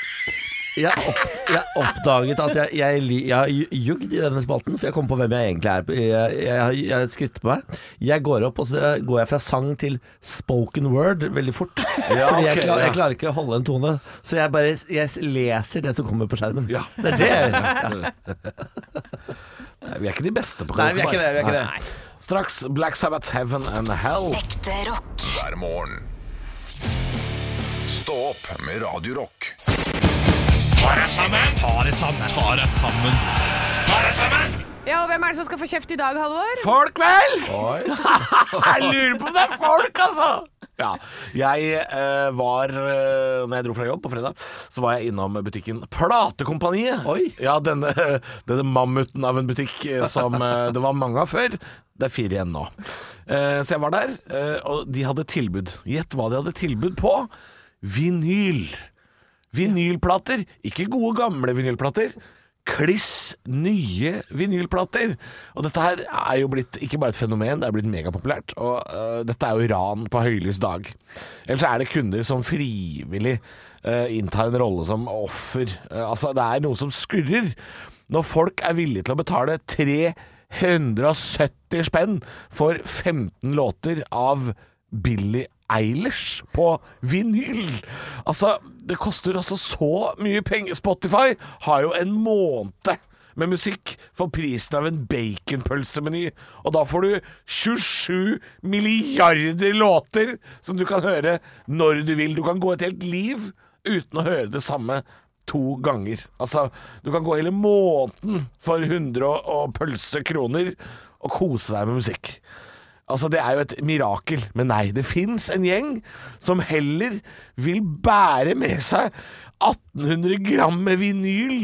Speaker 3: jeg, opp, jeg oppdaget at jeg, jeg, li- jeg har ju- jugd i denne spalten, for jeg kom på hvem jeg egentlig er. Jeg, jeg, har- jeg har skrytt på meg. Jeg går opp, og så går jeg fra sang til spoken word veldig fort. (laughs)
Speaker 4: Ja,
Speaker 3: fordi jeg,
Speaker 4: ok,
Speaker 3: klar,
Speaker 4: ja.
Speaker 3: jeg klarer ikke å holde en tone. Så jeg bare jeg leser det som kommer på skjermen.
Speaker 4: Ja.
Speaker 3: Det er det jeg gjør.
Speaker 4: Nei, Vi er ikke de beste på
Speaker 3: Nei,
Speaker 4: karaoke.
Speaker 3: vi er ikke det. Vi er ikke det.
Speaker 4: Straks Black Sabbath, Heaven and Hell.
Speaker 6: Ekte rock.
Speaker 2: hver morgen. Stå opp med Radio Rock.
Speaker 5: Ja, og hvem er det som skal få kjeft i dag, Halvor?
Speaker 4: Folk, vel! jeg lurer på om det er folk, altså! Ja, Jeg eh, var eh, Når jeg dro fra jobb på fredag, så var jeg innom butikken Platekompaniet.
Speaker 3: Oi.
Speaker 4: Ja, denne, denne mammuten av en butikk eh, som eh, det var mange av før. Det er fire igjen nå. Eh, så jeg var der, eh, og de hadde tilbud. Gjett hva de hadde tilbud på? Vinyl. Vinylplater. Ikke gode, gamle vinylplater. Kliss nye vinylplater. Og dette her er jo blitt ikke bare et fenomen, det er blitt megapopulært. Og øh, dette er jo ran på høylys dag. Ellers er det kunder som frivillig øh, inntar en rolle som offer. Eh, altså, det er noe som skurrer. Når folk er villige til å betale 370 spenn for 15 låter av Billie Eilish på vinyl. Altså, det koster altså så mye penger. Spotify har jo en måned med musikk for prisen av en baconpølsemeny, og da får du 27 milliarder låter som du kan høre når du vil. Du kan gå et helt liv uten å høre det samme to ganger. Altså, du kan gå hele måneden for 100 og pølse kroner og kose deg med musikk. Altså, det er jo et mirakel, men nei, det fins en gjeng som heller vil bære med seg 1800 gram med vinyl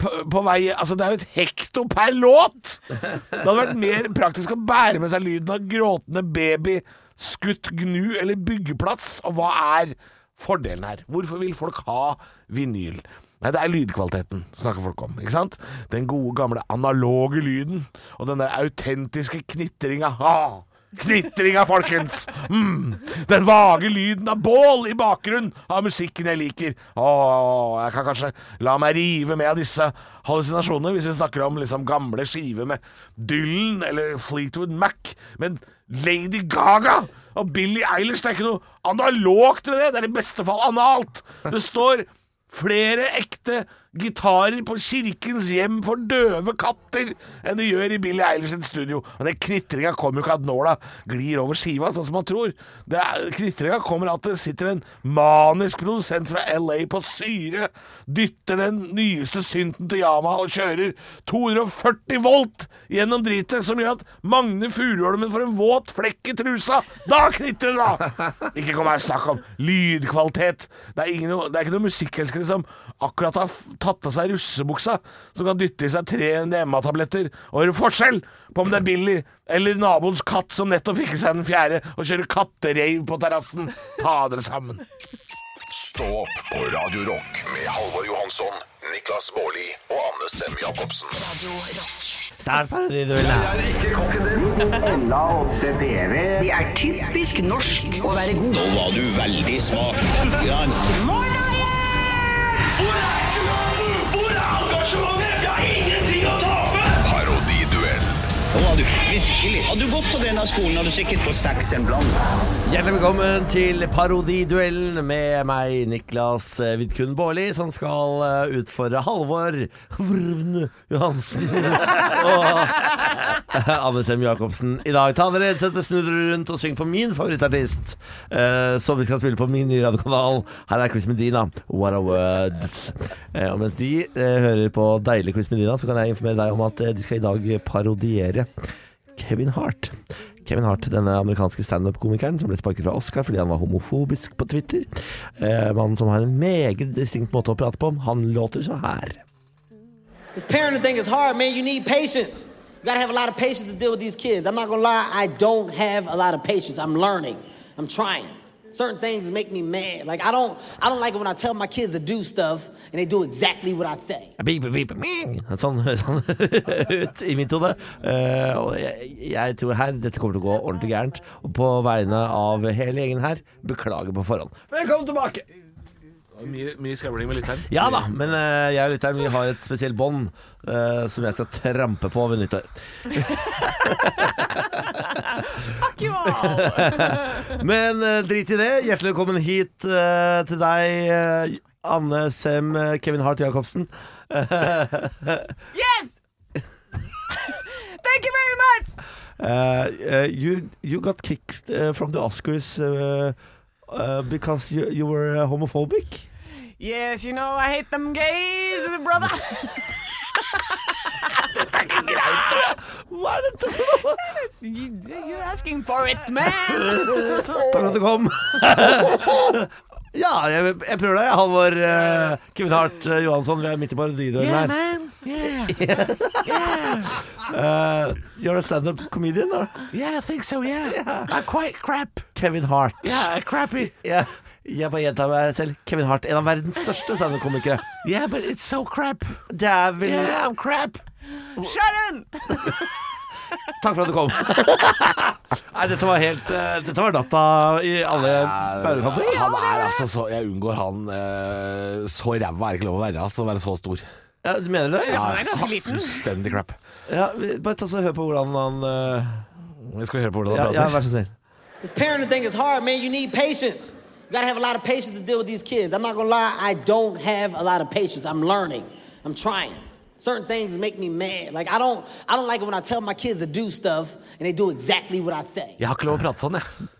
Speaker 4: på, på vei Altså, det er jo et hekto per låt! Det hadde vært mer praktisk å bære med seg lyden av gråtende baby, skutt gnu eller byggeplass. Og hva er fordelen her? Hvorfor vil folk ha vinyl? Nei, det er lydkvaliteten snakker folk om, ikke sant? Den gode gamle analoge lyden, og den der autentiske knitringa. Ah! Knitringa, folkens! Mm. Den vage lyden av bål i bakgrunnen av musikken jeg liker. Åh, jeg kan kanskje la meg rive med av disse hallusinasjonene hvis vi snakker om liksom gamle skiver med Dylan eller Fleetwood Mac. Men Lady Gaga og Billie Eilish, det er ikke noe analogt ved det. Det er i beste fall analt. Det står flere ekte gitarer på Kirkens hjem for døve katter enn de gjør i Billie Eilish sitt studio. Men den knitringa kommer jo ikke at nåla glir over skiva, sånn som man tror. Det er- Knitringa kommer at det sitter en manisk produsent fra LA på syre, dytter den nyeste synten til Yama og kjører 240 volt gjennom dritet, som gjør at Magne Furuholmen får en våt flekk i trusa. Da knitrer det, da! Ikke kom her og snakk om lydkvalitet. Det er, ingen, det er ikke noen musikkelskere som akkurat har f- tatt av seg russebuksa, som kan dytte i seg tre MDMA-tabletter og gjøre forskjell på om det er Billy eller naboens katt som nettopp fikk i seg den fjerde og kjører kattereiv på terrassen. Ta dere sammen.
Speaker 2: Stå opp på Radio Rock med Halvor Johansson, Niklas Baarli og Anne Sem Jacobsen.
Speaker 6: Radio Rock.
Speaker 3: Snart parodi du vil ha.
Speaker 7: Ella 8 TV. De er
Speaker 1: Typisk norsk å være god.
Speaker 8: Nå var du veldig smak. Grann.
Speaker 9: Hvor er engasjementet? Jeg har ingenting å tape!
Speaker 2: Parodiduell.
Speaker 8: Nå var du virkelig. Hadde du gått på denne skolen, hadde du sikkert fått seks en blant.
Speaker 3: Hjertelig velkommen til parodiduellen med meg, Niklas eh, Vidkun Baarli, som skal eh, utfordre Halvor Vrvn Johansen og (laughs) Anne Sem Jacobsen i dag. Ta dere et sette snudder rundt og syng på min favorittartist, eh, som vi skal spille på min nye radiokanal. Her er Chris Medina, What a Words. Eh, og mens de eh, hører på deilig Chris Medina, så kan jeg informere deg om at eh, de skal i dag parodiere Kevin Hart. Kevin Hart, denne amerikanske standup-komikeren som ble sparket fra Oscar fordi han var homofobisk på Twitter. Eh, Mannen som har en meget distinkt måte å prate på. Han låter så her.
Speaker 10: This parenting thing is hard, man. You need patience. You gotta have a lot of patience to deal with these kids. I'm not gonna lie, I don't have a lot of patience. I'm learning. I'm trying. Certain things make me mad. Like I don't, I don't like it when I tell my kids to do stuff and they do exactly what I say.
Speaker 3: Beep, beep, beep. Sånn (laughs) høres han ut i mitt hode. Eh, og jeg, jeg tror her dette kommer til å gå ordentlig gærent. Og på vegne av hele gjengen her, beklager på forhånd. Velkommen tilbake!
Speaker 4: Mye, mye skravling med lytteren.
Speaker 3: Ja da, men eh, jeg og lytteren vi har et spesielt bånd eh, som jeg skal trampe på ved nyttår.
Speaker 5: Fuck you all!
Speaker 3: (laughs) Men eh, drit i det. Hjertelig velkommen hit eh, til deg, eh, Anne Sem eh, Kevin Hart Jacobsen.
Speaker 5: Yes! Thank you very much!
Speaker 3: Eh, eh, you, you got kicked eh, from the Oscars eh, eh, because you, you were eh, homophobic.
Speaker 5: Yes, you know I hate them gays, brother.
Speaker 3: Hva er dette for noe?
Speaker 4: (laughs)
Speaker 5: You, you're asking for it, man.
Speaker 4: Eh,
Speaker 3: Takk for at du kom. (laughs) ja, jeg, jeg prøver deg, Halvor eh, Kevin Hart eh, Johansson. Vi er midt i parodidøren her.
Speaker 5: man.
Speaker 3: (laughs)
Speaker 5: Yeah.
Speaker 3: Eh, you're a stand-up comedian, or?
Speaker 4: Yeah, I think
Speaker 3: (laughs)
Speaker 4: so, yeah. I'm quite crap.
Speaker 3: Kevin Hart.
Speaker 4: Yeah, crappy.
Speaker 3: Ja, jeg bare gjentar meg selv. Kevin Hart, en av verdens største standup-komikere.
Speaker 4: Yeah, but it's so crap.
Speaker 3: Det er vel
Speaker 4: Yeah, I'm crap.
Speaker 5: Sharon!
Speaker 3: Takk for at du
Speaker 4: (laughs)
Speaker 3: kom. Nei, dette var helt eh, Dette var natta i alle bærekanter.
Speaker 4: Eh, Han er altså så Jeg unngår han eh, Så ræva er ikke lov å være, altså. å Være så stor.
Speaker 3: Ja, du mener det? Ja.
Speaker 5: er ganske liten.
Speaker 4: Fullstendig crap.
Speaker 3: vi- bare ta så hør på hvordan han eh,
Speaker 4: Vi skal høre på hvordan
Speaker 3: ja,
Speaker 4: han
Speaker 3: ja, vær
Speaker 4: prater.
Speaker 3: så snill.
Speaker 10: This parenting thing is hard, man. You need patience. You gotta have a lot of patience to deal with these kids. I'm not gonna lie, I don't have a lot of patience. I'm learning. I'm trying. Certain things make me mad. Like I don't, I don't like it when I tell my kids to do stuff and they do exactly what I say.
Speaker 4: Jeg har ikke lov å prate sånn, jeg.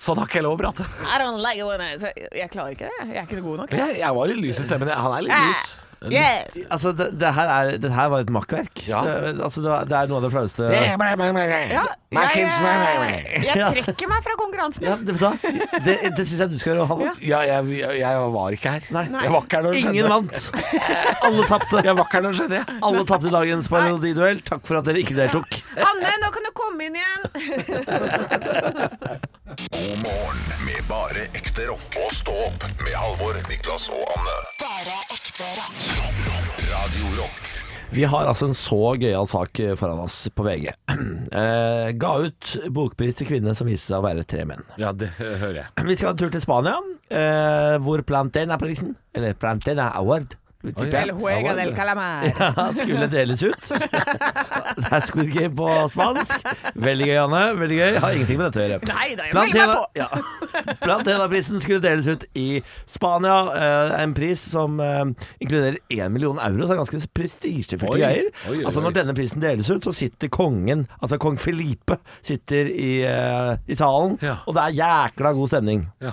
Speaker 4: Sånn har ikke jeg lov å prate.
Speaker 5: (laughs) I don't like it when I say Jeg klarer ikke det. jeg. Jeg er ikke god nok. Eh, jeg.
Speaker 4: Jeg, jeg var litt lys i stemmen. jeg. Han er litt lys.
Speaker 5: Yes.
Speaker 3: Altså, det, det, her er, det her var et makkverk.
Speaker 4: Ja.
Speaker 3: Det, altså, det, var- det er noe av det flaueste
Speaker 5: Ja, jeg,
Speaker 4: Ja,
Speaker 5: eh, jeg trekker meg fra konkurransen.
Speaker 3: ja, Det, vet du hva? det, det syns jeg du skal gjøre, Halvor.
Speaker 4: jeg, jeg, jeg var ikke her.
Speaker 3: Nei.
Speaker 4: Jeg var ikke her når det
Speaker 3: Ingen
Speaker 4: skjedde.
Speaker 3: vant. Alle tapte.
Speaker 4: Jeg var ikke her når det skjedde. jeg.
Speaker 3: Alle tapte i dagens parodiduell. Takk for at dere ikke deltok.
Speaker 5: Anne, nå kan du komme inn igjen.
Speaker 3: (laughs)
Speaker 2: God morgen med bare ekte rock. Og stå opp med Halvor, Niklas og Anne.
Speaker 6: Bare ekte rock.
Speaker 2: Radio Rock.
Speaker 3: Vi har altså en så gøyal sak eh, foran oss på VG. (clears throat) Eh, ga ut bokpris til kvinne som viste seg å være tre menn. (clears throat)
Speaker 4: Ja, det hører jeg.
Speaker 3: Vi skal ha en tur til Spania, eh, hvor Plantena-prisen, eller Plantena Award tipper jeg.
Speaker 5: El juego del calamar.
Speaker 3: (laughs) Ja, skulle deles
Speaker 5: (laughs)
Speaker 3: ut. Det er Squid Game på spansk. Veldig gøy, Anne. Veldig gøy. Har ingenting med dette å gjøre.
Speaker 5: Nei, da, jeg melder meg på.
Speaker 3: ja. Plantena-prisen skulle deles ut i Spania. Eh, En pris som eh, inkluderer én million euro, så det er ganske prestisjefylte
Speaker 4: Oi.
Speaker 3: greier.
Speaker 4: Oi, oi,
Speaker 3: Altså
Speaker 4: oi.
Speaker 3: Når denne prisen deles ut, så sitter kongen, altså kong Felipe, sitter i, eh, i salen,
Speaker 4: Ja.
Speaker 3: og det er jækla god stemning.
Speaker 4: Ja.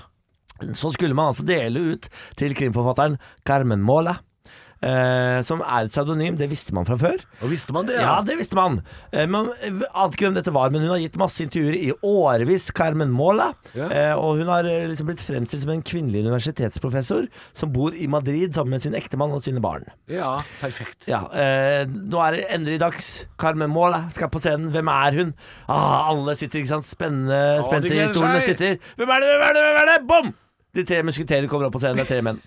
Speaker 3: Så skulle man altså dele ut til krimforfatteren Carmen Mola. Eh, som er et pseudonym, det visste man fra før.
Speaker 4: Og visste man det?
Speaker 3: Ja, det visste man. Eh, man ante ikke hvem dette var, men hun har gitt masse intervjuer i årevis, Carmen Mola.
Speaker 4: Ja.
Speaker 3: Eh, og hun har eh, liksom blitt fremstilt som en kvinnelig universitetsprofessor som bor i Madrid sammen med sin ektemann og sine barn.
Speaker 4: ja perfekt.
Speaker 3: Ja, eh, nå er det endelig dags. Carmen Mola skal på scenen. Hvem er hun? Ah, alle sitter, ikke sant? Spennende,
Speaker 4: Å,
Speaker 3: spente
Speaker 4: de
Speaker 3: i
Speaker 4: gleder
Speaker 3: stolen og
Speaker 4: seg.
Speaker 3: sitter. Hvem er det, hvem er det, hvem er det? Bom! De tre musketerer kommer opp på scenen. Det er tre menn.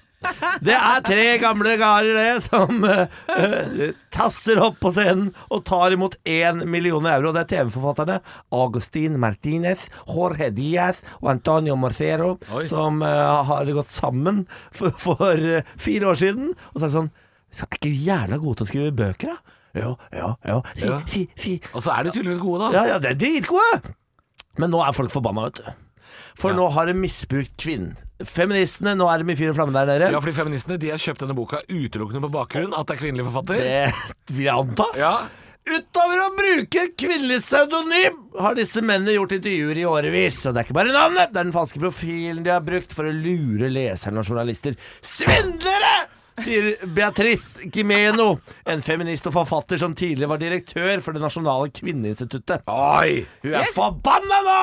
Speaker 3: Det er tre gamle karer det, som eh, eh, tasser opp på scenen og tar imot én million euro. Det er TV-forfatterne Agustin Martinez, Jorge Diaz og Antonio Morcero
Speaker 4: Oi.
Speaker 3: som eh, har gått sammen for, for eh, fire år siden og sagt sånn så Er ikke vi jævla gode til å skrive bøker, da? Ja, ja, ja. Si,
Speaker 4: Ja.
Speaker 3: si, si.
Speaker 4: Og så er de tydeligvis gode, da.
Speaker 3: Ja, ja, det er dritgode! Men nå er folk forbanna, vet du. For
Speaker 4: Ja.
Speaker 3: nå har de misbrukt kvinnen. Feministene, nå er de i fyr og flamme der nede.
Speaker 4: Ja, fordi feministene de har kjøpt denne boka utelukkende på bakgrunn at det er kvinnelig forfatter.
Speaker 3: Det vil jeg anta.
Speaker 4: Ja.
Speaker 3: Utover å bruke et kvinnelig pseudonym har disse mennene gjort intervjuer i årevis. Og det er ikke bare navnet, det er den falske profilen de har brukt for å lure leserne og journalister. Svindlere! Sier Beatrice Gimeno, en feminist og forfatter som tidligere var direktør for Det nasjonale kvinneinstituttet.
Speaker 4: Oi!
Speaker 3: Hun er forbanna nå!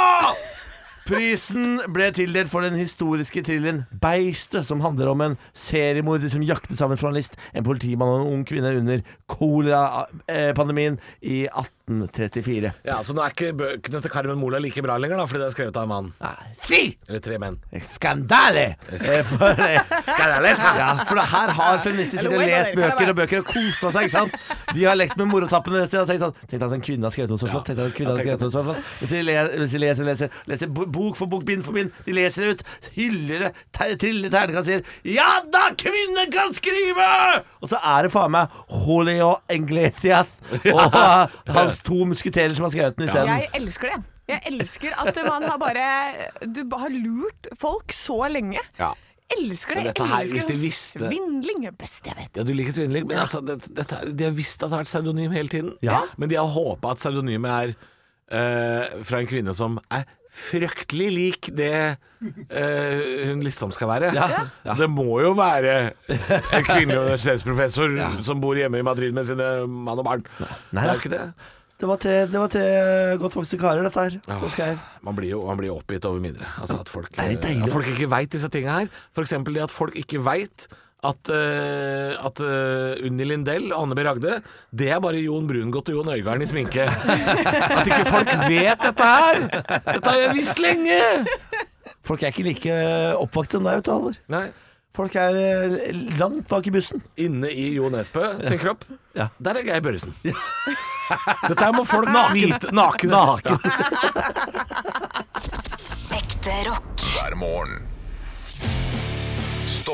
Speaker 3: Prisen ble tildelt for den historiske thrilleren 'Beistet', som handler om en seriemorder som jaktes av en journalist, en politimann og en ung kvinne under kolerapandemien i 1834.
Speaker 4: Ja, Så nå er ikke bøkene til Carmen Mola like bra lenger, da, fordi det er skrevet av en mann.
Speaker 3: Nei, Fy!
Speaker 4: Eller tre menn.
Speaker 3: Skandale! Eh, For, eh, ja, for det her har feminister sittet og lest bøker og bøker og kosa seg. ikke sant? De har lekt med morotappene sine og tenkt sånn Tenk deg at en kvinne har skrevet noe så flott. Tenk deg at en kvinne har skrevet noe så flott Mens de le- mens de leser, leser, leser bo- bok for bok, bind for bind. De leser det ut, hyller det, te- triller terningkast sier 'Ja da, kvinnen kan skrive!' Og så er det faen meg Julio (laughs) Englesias og eh, hans to musketerer som har skrevet den isteden.
Speaker 5: Jeg elsker det. Jeg elsker at man har bare Du ba- har lurt folk så lenge.
Speaker 4: Ja.
Speaker 5: Elsker det.
Speaker 4: Men dette her,
Speaker 5: elsker
Speaker 4: hvis
Speaker 5: sånn
Speaker 4: de visste-
Speaker 5: Svindling er best jeg vet.
Speaker 4: Ja, Du liker svindling, men altså, det, dette, er- de har visst at det har vært pseudonym hele tiden.
Speaker 3: Ja.
Speaker 4: Men de har håpa at pseudonymet er eh, fra en kvinne som er fryktelig lik det eh, hun liksom skal være.
Speaker 3: Ja. Ja.
Speaker 4: Det må jo være (laughs) en kvinnelig universitetsprofessor som bor hjemme i Madrid med sine mann og barn.
Speaker 3: Nei
Speaker 4: det
Speaker 3: da.
Speaker 4: er jo ikke det.
Speaker 3: Det var tre, det var tre godt vokste karer, dette her, som skrev.
Speaker 4: Man blir jo man blir jo oppgitt over mindre. Altså at folk,
Speaker 3: er litt deilig.
Speaker 4: at folk ikke veit disse tinga her. F.eks. det at folk ikke veit at, eh, at eh, Unni Lindell og Anne B. Ragde, det er bare Jon Brungot og Jon Øigarden
Speaker 3: (laughs)
Speaker 4: i sminke. At ikke folk vet dette her! Dette har jeg visst lenge!
Speaker 3: Folk er ikke like oppvakt som deg, vet du, Halvor.
Speaker 4: Nei.
Speaker 3: Folk er eh, langt bak i bussen.
Speaker 4: Inne i Jo Nesbø sin kropp,
Speaker 3: Ja.
Speaker 4: der er Geir Børresen. Dette her må folk vite. Naken. Ja.
Speaker 6: Ekte rock.
Speaker 2: hver morgen. Stå